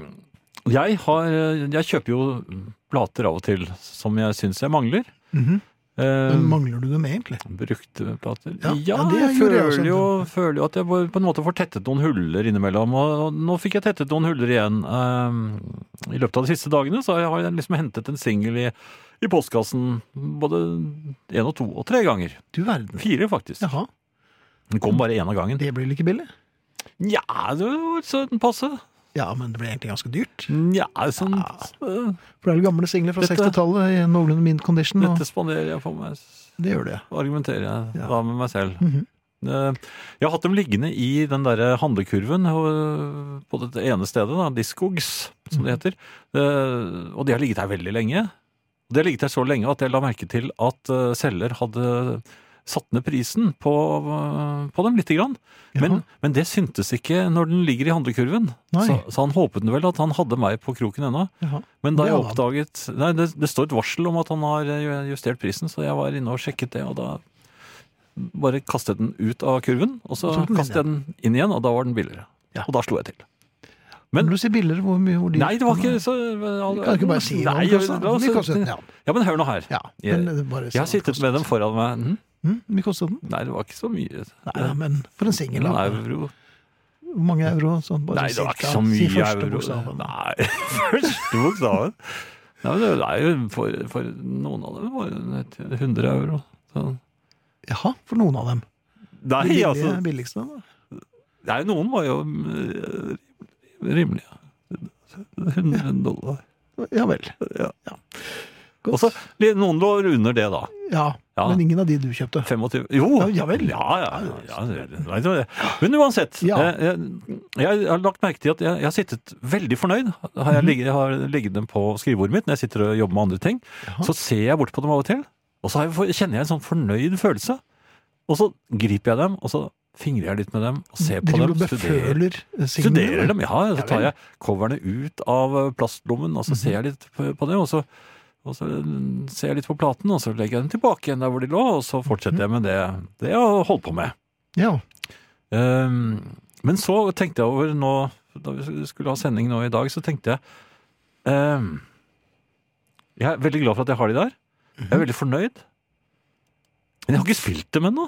Speaker 2: jeg, har, jeg kjøper jo plater av og til som jeg syns jeg mangler.
Speaker 1: Mhm.
Speaker 2: Eh,
Speaker 1: Men mangler du dem egentlig?
Speaker 2: Brukte plater? Ja,
Speaker 1: Ja, ja, det gjorde jeg
Speaker 2: jeg føler
Speaker 1: også.
Speaker 2: jo, føler jo at jeg på en måte får tettet noen huller innimellom. Og og nå fikk jeg tettet noen huller igjen. eh, I løpet av de siste dagene så har jeg liksom hentet en singel i, i postkassen både én og to og tre ganger.
Speaker 1: Du verden.
Speaker 2: Fire, faktisk.
Speaker 1: Jaha,
Speaker 2: Den kom bare én av gangen.
Speaker 1: det blir vel ikke billig?
Speaker 2: Nja, det var sånn passe.
Speaker 1: Ja, men det blir egentlig ganske dyrt.
Speaker 2: Nja, sånn eh,
Speaker 1: For det er jo gamle singler fra
Speaker 2: Dette-
Speaker 1: 60-tallet i noenlunde mint condition, og
Speaker 2: Dette spanderer jeg på meg.
Speaker 1: det gjør det.
Speaker 2: argumenterer jeg
Speaker 1: Ja.
Speaker 2: da med meg selv.
Speaker 1: Mhm.
Speaker 2: Eh, Jeg har hatt dem liggende i den der handlekurven og- på det ene stedet, da, Discogs, som
Speaker 1: Mhm.
Speaker 2: det heter. Eh, Og de har ligget her veldig lenge. De har ligget her så lenge at jeg la merke til at eh, selger hadde satt ned prisen på, eh, på dem lite grann. Men, men det syntes ikke når den ligger i handlekurven.
Speaker 1: Nei.
Speaker 2: Så, så han håpet vel at han hadde meg på kroken ennå.
Speaker 1: Jaha.
Speaker 2: Men da
Speaker 1: Det
Speaker 2: jeg
Speaker 1: hadde han.
Speaker 2: oppdaget Nei, det, det står et varsel om at han har eh, justert prisen, så jeg var inne og sjekket det, og da bare kastet den ut av kurven, og så
Speaker 1: Så den inn
Speaker 2: kastet jeg den inn igjen, og da var den billigere.
Speaker 1: Ja.
Speaker 2: Og da slo jeg til.
Speaker 1: Men du sier billigere hvor mye hvor dyrt
Speaker 2: Nei, det var
Speaker 1: den
Speaker 2: ikke så eh,
Speaker 1: er. Kan du ikke bare si hva
Speaker 2: Nei,
Speaker 1: den kostet?
Speaker 2: la
Speaker 1: Hvor
Speaker 2: oss-
Speaker 1: mye kostet den? Ja.
Speaker 2: Ja, men hør nå her.
Speaker 1: ja.
Speaker 2: Jeg,
Speaker 1: men eh, bare si
Speaker 2: jeg
Speaker 1: hva den
Speaker 2: har sittet med
Speaker 1: kostet.
Speaker 2: dem foran meg. Mhm.
Speaker 1: Mm, Hvor mye kostet den?
Speaker 2: Nei, det var ikke så mye.
Speaker 1: Nei, ja, men for en singel,
Speaker 2: Noen
Speaker 1: da.
Speaker 2: euro.
Speaker 1: Hvor mange euro? Sånn, bare
Speaker 2: Nei, det var
Speaker 1: cirka.
Speaker 2: ikke så mye
Speaker 1: si første
Speaker 2: euro.
Speaker 1: bokstaven.
Speaker 2: Nei, første bokstaven. Nei, men det er jo for, for noen av dem var det 100 euro. Så.
Speaker 1: Jaha, for noen av dem.
Speaker 2: Nei,
Speaker 1: De billige,
Speaker 2: altså.
Speaker 1: billigste, da.
Speaker 2: Nei, noen var jo eh, rimelige. 100 dollar.
Speaker 1: Ja vel.
Speaker 2: Ja.
Speaker 1: Godt.
Speaker 2: Og så noen lå under det, da.
Speaker 1: ja,
Speaker 2: Ja.
Speaker 1: men ingen av de du kjøpte.
Speaker 2: 25 Jo!
Speaker 1: Ja, ja vel.
Speaker 2: Ja, ja, ja, ja, nei, det var det. Men uansett.
Speaker 1: Ja.
Speaker 2: Jeg, jeg, jeg har lagt merke til at jeg, jeg har sittet veldig fornøyd. Har
Speaker 1: Mhm.
Speaker 2: jeg, ligget, jeg har ligget dem på skrivebordet mitt når jeg sitter og jobber med andre ting. Så ser jeg bort på dem av og til, og så har jeg, for- kjenner jeg en sånn fornøyd følelse. Og så griper jeg dem, og så fingrer jeg litt med dem og ser på
Speaker 1: Driver
Speaker 2: dem.
Speaker 1: du og
Speaker 2: studerer-
Speaker 1: beføler eh, signene?
Speaker 2: Studerer dem, ja. Så tar jeg coverne ut av eh, plastlommen, og så ser jeg litt på på det, og så, og så mm, ser jeg litt på platen, og så legger jeg dem tilbake igjen der hvor de lå, og så fortsetter jeg med det, det jeg har holdt på med.
Speaker 1: Ja.
Speaker 2: Ehm, men så tenkte jeg over nå, da vi skulle ha sending nå i dag, så tenkte jeg ehm, Jeg er veldig glad for at jeg har de der. Jeg er veldig fornøyd. Men jeg har ikke spilt dem ennå.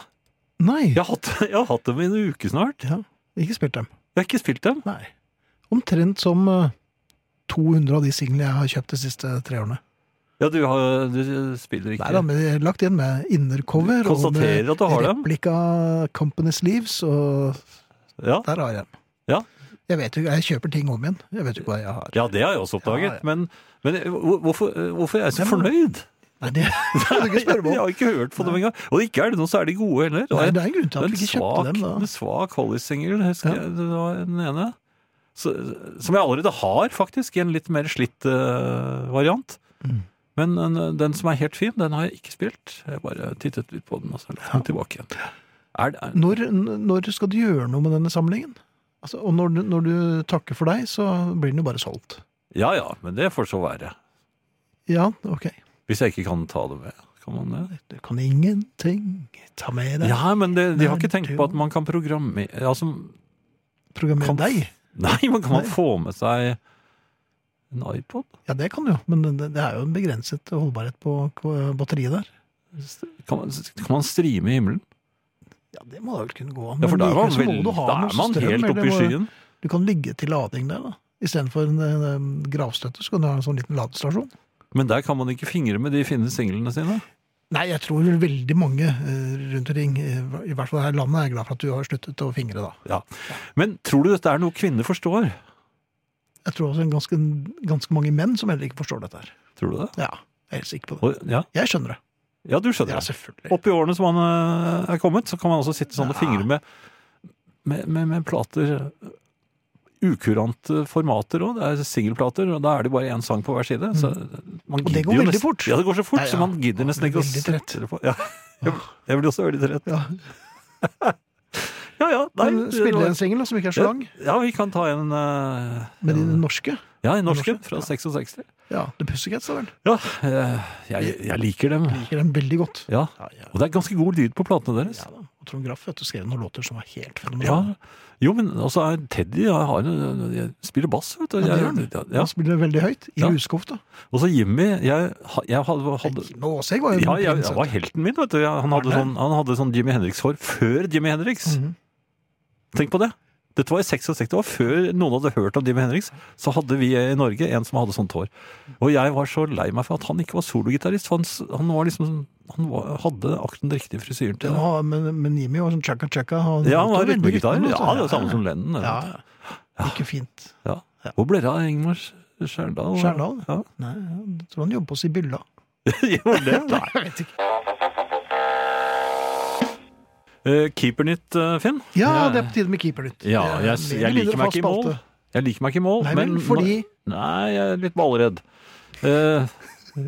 Speaker 1: Nei,
Speaker 2: Jeg, har hatt- jeg har hatt dem i en uke snart.
Speaker 1: ikke spilt dem.
Speaker 2: Jeg har ikke spilt dem.
Speaker 1: Nei. Omtrent som eh, 200 av de singlene jeg har kjøpt de siste tre årene.
Speaker 2: Ja, du, har, du spiller ikke
Speaker 1: Nei da, men jeg har lagt igjen med innercover og
Speaker 2: Konstaterer
Speaker 1: med
Speaker 2: at du har dem.
Speaker 1: replika Companies Leaves, og
Speaker 2: Ja.
Speaker 1: der har jeg dem.
Speaker 2: Ja.
Speaker 1: Jeg vet jo, jeg kjøper ting om igjen. Jeg vet jo ikke hva jeg har.
Speaker 2: Ja, det har jeg også
Speaker 1: Ja,
Speaker 2: oppdaget.
Speaker 1: ja.
Speaker 2: Men, men hvor- hvorfor, hvorfor er jeg
Speaker 1: Nei,
Speaker 2: så
Speaker 1: men-
Speaker 2: fornøyd?
Speaker 1: Nei, det kan du ikke spørre meg
Speaker 2: Jeg
Speaker 1: om.
Speaker 2: har ikke hørt på dem engang. Og ikke er det noe særlig gode heller.
Speaker 1: Nei, det er en grunn til at
Speaker 2: en
Speaker 1: vi ikke kjøpte dem da.
Speaker 2: en svak Hollies-singel, husker
Speaker 1: Ja.
Speaker 2: jeg. Det var den ene. Så, som jeg allerede har, faktisk, i en litt mer slitt eh, variant.
Speaker 1: Mm.
Speaker 2: Men eh, den som er helt fin, den har jeg ikke spilt. Jeg har bare tittet litt på den og så lagt den tilbake igjen. Er, det- er,
Speaker 1: Når, når skal du gjøre noe med denne samlingen? Altså, og når, du- når du takker for deg, så blir den jo bare solgt.
Speaker 2: ja ja, men det får så være.
Speaker 1: Ja, ok.
Speaker 2: Hvis jeg ikke kan ta det med. Kan man det?
Speaker 1: Du kan ingenting ta med deg.
Speaker 2: Ja, men det, de har
Speaker 1: Nei,
Speaker 2: ikke tenkt
Speaker 1: det-
Speaker 2: på at man kan programmere altså,
Speaker 1: Programmer
Speaker 2: kan-
Speaker 1: deg.
Speaker 2: Nei, men kan man
Speaker 1: Nei.
Speaker 2: få med seg en iPod?
Speaker 1: Ja, det kan du jo, men det, det er jo en begrenset holdbarhet på på batteriet der.
Speaker 2: Kan man, kan man streame i himmelen?
Speaker 1: Ja, det må da vel kunne gå an.
Speaker 2: Ja, for
Speaker 1: men
Speaker 2: da er
Speaker 1: likevel
Speaker 2: man,
Speaker 1: så må
Speaker 2: vel,
Speaker 1: du ha
Speaker 2: da
Speaker 1: noe
Speaker 2: er man
Speaker 1: strøm,
Speaker 2: helt
Speaker 1: eller
Speaker 2: oppe i
Speaker 1: må-
Speaker 2: skyen.
Speaker 1: Du kan ligge til lading der, da. Istedenfor en, en, en gravstøtte, så kan du ha en sånn liten ladestasjon.
Speaker 2: Men der kan man ikke fingre med de fine singlene sine.
Speaker 1: Nei, jeg tror vel veldig mange eh, rundt omkring, eh, i hvert fall her i landet, er glad for at du har sluttet å fingre, da.
Speaker 2: Ja. Men tror du dette er noe kvinner forstår?
Speaker 1: Jeg tror også en ganske, ganske mange menn som heller ikke forstår dette her.
Speaker 2: Tror du det?
Speaker 1: Ja, jeg er helt sikker på det.
Speaker 2: Og, ja.
Speaker 1: Jeg skjønner det.
Speaker 2: ja, du skjønner.
Speaker 1: Ja,
Speaker 2: det.
Speaker 1: selvfølgelig.
Speaker 2: Opp i årene som man eh, er kommet, så kan man også sitte sånn og fingre med, med, med, med plater. eh, Ukurante formater òg. Det er singelplater, og da er det bare én sang på hver side. Så man
Speaker 1: Mm. Og det
Speaker 2: gidder
Speaker 1: går
Speaker 2: jo
Speaker 1: veldig
Speaker 2: nesten-
Speaker 1: fort.
Speaker 2: Ja, det går så fort,
Speaker 1: Ja, ja.
Speaker 2: så man gidder nesten
Speaker 1: Man blir
Speaker 2: ikke å
Speaker 1: veldig trett.
Speaker 2: sette det på. Ja. Jeg, jeg blir også veldig trett.
Speaker 1: Ja.
Speaker 2: Ja, ja. Nei,
Speaker 1: Men
Speaker 2: det
Speaker 1: Spille
Speaker 2: var-
Speaker 1: en singel da, som ikke er så lang,
Speaker 2: Ja, vi kan ta en eh,
Speaker 1: med de norske.
Speaker 2: Ja, en norsk en
Speaker 1: Norske,
Speaker 2: fra 66.
Speaker 1: Ja, The Pussycats, da vel.
Speaker 2: Ja, eh, jeg, jeg liker dem.
Speaker 1: Liker dem veldig godt.
Speaker 2: Ja.
Speaker 1: Ja, ja.
Speaker 2: Og det er ganske god lyd på platene deres.
Speaker 1: Ja da. Og Trond Graff vet du, skrev noen låter som var helt
Speaker 2: Ja.
Speaker 1: fenomenale.
Speaker 2: Jo, men også er Teddy jeg har, en- jeg spiller bass, vet du.
Speaker 1: Ja, det gjør
Speaker 2: Jeg,
Speaker 1: han.
Speaker 2: ja.
Speaker 1: Han spiller veldig høyt, i
Speaker 2: Ja.
Speaker 1: huskofta.
Speaker 2: Og så Jimmy. Jeg, ha- jeg hadde, hadde
Speaker 1: Kim og Åseg var jo
Speaker 2: ja, jeg,
Speaker 1: prins,
Speaker 2: jeg
Speaker 1: vet
Speaker 2: var helten min, vet du. Jeg- Han hadde sånn, han hadde sånn Jimmy Henriks-hår før Jimmy Henriks.
Speaker 1: Mhm.
Speaker 2: Tenk på det. Dette var i 66, det var før noen hadde hørt om Jimmy Henriks. Så hadde vi i Norge en som hadde sånt hår. Og jeg var så lei meg for at han ikke var sologitarist. for Han, s- han var liksom Han var, hadde akkurat den riktige frisyren til
Speaker 1: du.
Speaker 2: det.
Speaker 1: Ja, men, men Jimmy var sånn chaka-chaka.
Speaker 2: Ja, han var
Speaker 1: veldig
Speaker 2: rytmegitar.
Speaker 1: rytmen,
Speaker 2: Ja, det var
Speaker 1: altså.
Speaker 2: samme som Lennon.
Speaker 1: Ja,
Speaker 2: Ja.
Speaker 1: ja. Ikke fint.
Speaker 2: Ja. Hvor ble det av Ingmar Skjerdal?
Speaker 1: Skjerdal?
Speaker 2: Ja.
Speaker 1: Nei, jeg tror han jobber på Sibylla.
Speaker 2: Gjorde det?
Speaker 1: Nei, jeg vet ikke.
Speaker 2: Eh, Keepernytt, eh, Finn?
Speaker 1: Ja, det
Speaker 2: Jeg-
Speaker 1: er på tide med keepernytt.
Speaker 2: Ja,
Speaker 1: Det er
Speaker 2: jeg,
Speaker 1: mer
Speaker 2: jeg
Speaker 1: eller
Speaker 2: liker
Speaker 1: mindre
Speaker 2: meg
Speaker 1: fast
Speaker 2: ikke i mål.
Speaker 1: spalte.
Speaker 2: Jeg liker meg ikke i mål,
Speaker 1: Nei,
Speaker 2: men
Speaker 1: vel, fordi
Speaker 2: Nei, jeg er litt ballredd. Eh,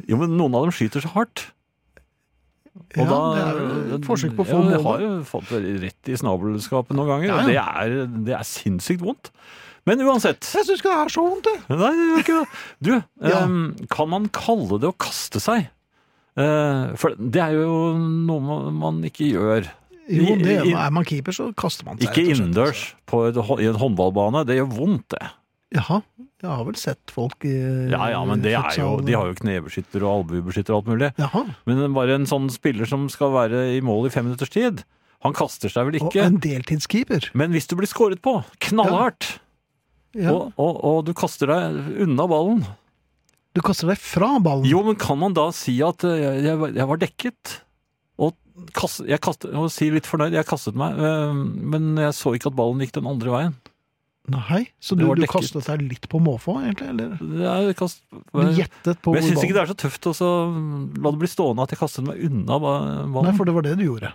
Speaker 2: jo, men noen av dem skyter så hardt. Og
Speaker 1: Ja, det er jo et forsøk på å få
Speaker 2: ja, Jeg
Speaker 1: målet.
Speaker 2: har jo fått det rett i snabelskapet noen ganger,
Speaker 1: Ja,
Speaker 2: og det
Speaker 1: ja.
Speaker 2: er, det er sinnssykt vondt. Men uansett
Speaker 1: Jeg syns ikke det er så vondt, jeg.
Speaker 2: Nei, det gjør ikke det. Du,
Speaker 1: Ja.
Speaker 2: em, kan man kalle det å kaste seg? Eh, for det er jo noe man- man ikke gjør.
Speaker 1: Jo, det,
Speaker 2: I- i-
Speaker 1: er man keeper, så kaster man seg.
Speaker 2: Ikke
Speaker 1: rett og slett.
Speaker 2: innendørs på et, hå- i en håndballbane. Det gjør vondt, det.
Speaker 1: Jaha. Jeg har vel sett folk i
Speaker 2: Ja ja, men det er jo, de har jo knebeskytter og albuebeskytter og alt mulig.
Speaker 1: Jaha.
Speaker 2: Men bare en sånn spiller som skal være i mål i fem minutters tid, han kaster seg vel
Speaker 1: Og
Speaker 2: ikke.
Speaker 1: en deltidskeeper.
Speaker 2: Men hvis du blir skåret på, knallhardt,
Speaker 1: Ja.
Speaker 2: og, og, og du kaster deg unna ballen
Speaker 1: Du kaster deg fra ballen.
Speaker 2: Jo, men kan man da si at eh, jeg, jeg, var- jeg var dekket? Og, kast, jeg kastet, og si litt fornøyd, jeg kastet meg, eh, men jeg så ikke at ballen gikk den andre veien.
Speaker 1: Nei, så
Speaker 2: Det
Speaker 1: du,
Speaker 2: var
Speaker 1: du
Speaker 2: dekket.
Speaker 1: kastet deg litt på måfå, egentlig? Eller?
Speaker 2: Det er kast,
Speaker 1: Du
Speaker 2: men
Speaker 1: gjettet på
Speaker 2: jeg
Speaker 1: hvor
Speaker 2: syns ikke
Speaker 1: ballen
Speaker 2: det er så tøft å så la det bli stående at jeg kastet meg unna ba-
Speaker 1: Nei,
Speaker 2: ballen.
Speaker 1: for det var det du gjorde.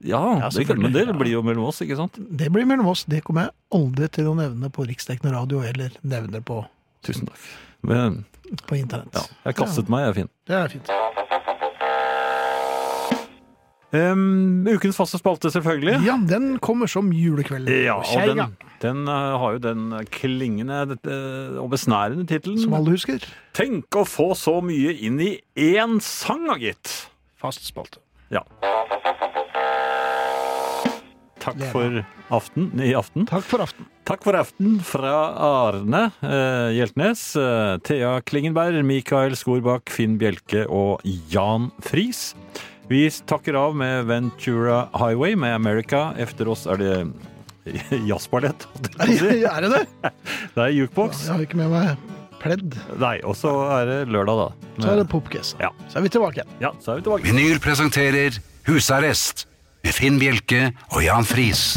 Speaker 2: ja,
Speaker 1: Ja,
Speaker 2: det, kan- men det
Speaker 1: selvfølgelig, Mm. ja.
Speaker 2: blir jo mellom oss, ikke sant?
Speaker 1: Det blir mellom oss. Det kommer jeg aldri til å nevne på riksdekkende radio eller nevne på,
Speaker 2: Tusen takk. Men
Speaker 1: på internett.
Speaker 2: ja, jeg kastet meg, jeg er fin.
Speaker 1: Det er fint.
Speaker 2: Em, ukens faste spalte, selvfølgelig.
Speaker 1: Ja, den kommer som julekveld.
Speaker 2: Ja,
Speaker 1: Kjei,
Speaker 2: og den, den eh, har jo den klingende eh, og besnærende
Speaker 1: Som
Speaker 2: tittelen
Speaker 1: alle husker.
Speaker 2: Tenk å få så mye inn i én sang, da, gitt!
Speaker 1: Fast spalte.
Speaker 2: Ja. Takk
Speaker 1: Lena.
Speaker 2: for aften, i aften.
Speaker 1: Takk for aften.
Speaker 2: Takk for aften fra Arne eh, Hjeltnes, eh, Thea Klingenberg, Mikael Skorbakk, Finn Bjelke og Jan Friis. Vi takker av med Ventura Highway med America. Efter oss er det jazzballett. holdt jeg på å si.
Speaker 1: er det det?
Speaker 2: Det er jukebox.
Speaker 1: Jeg har ikke med meg pledd.
Speaker 2: Nei, og så er det lørdag, da.
Speaker 1: Så er det popquiz.
Speaker 2: Ja.
Speaker 1: Så er vi tilbake igjen.
Speaker 2: Ja, så er vi tilbake.
Speaker 3: Vinyl presenterer Husarrest med Finn Bjelke og Jan Friis.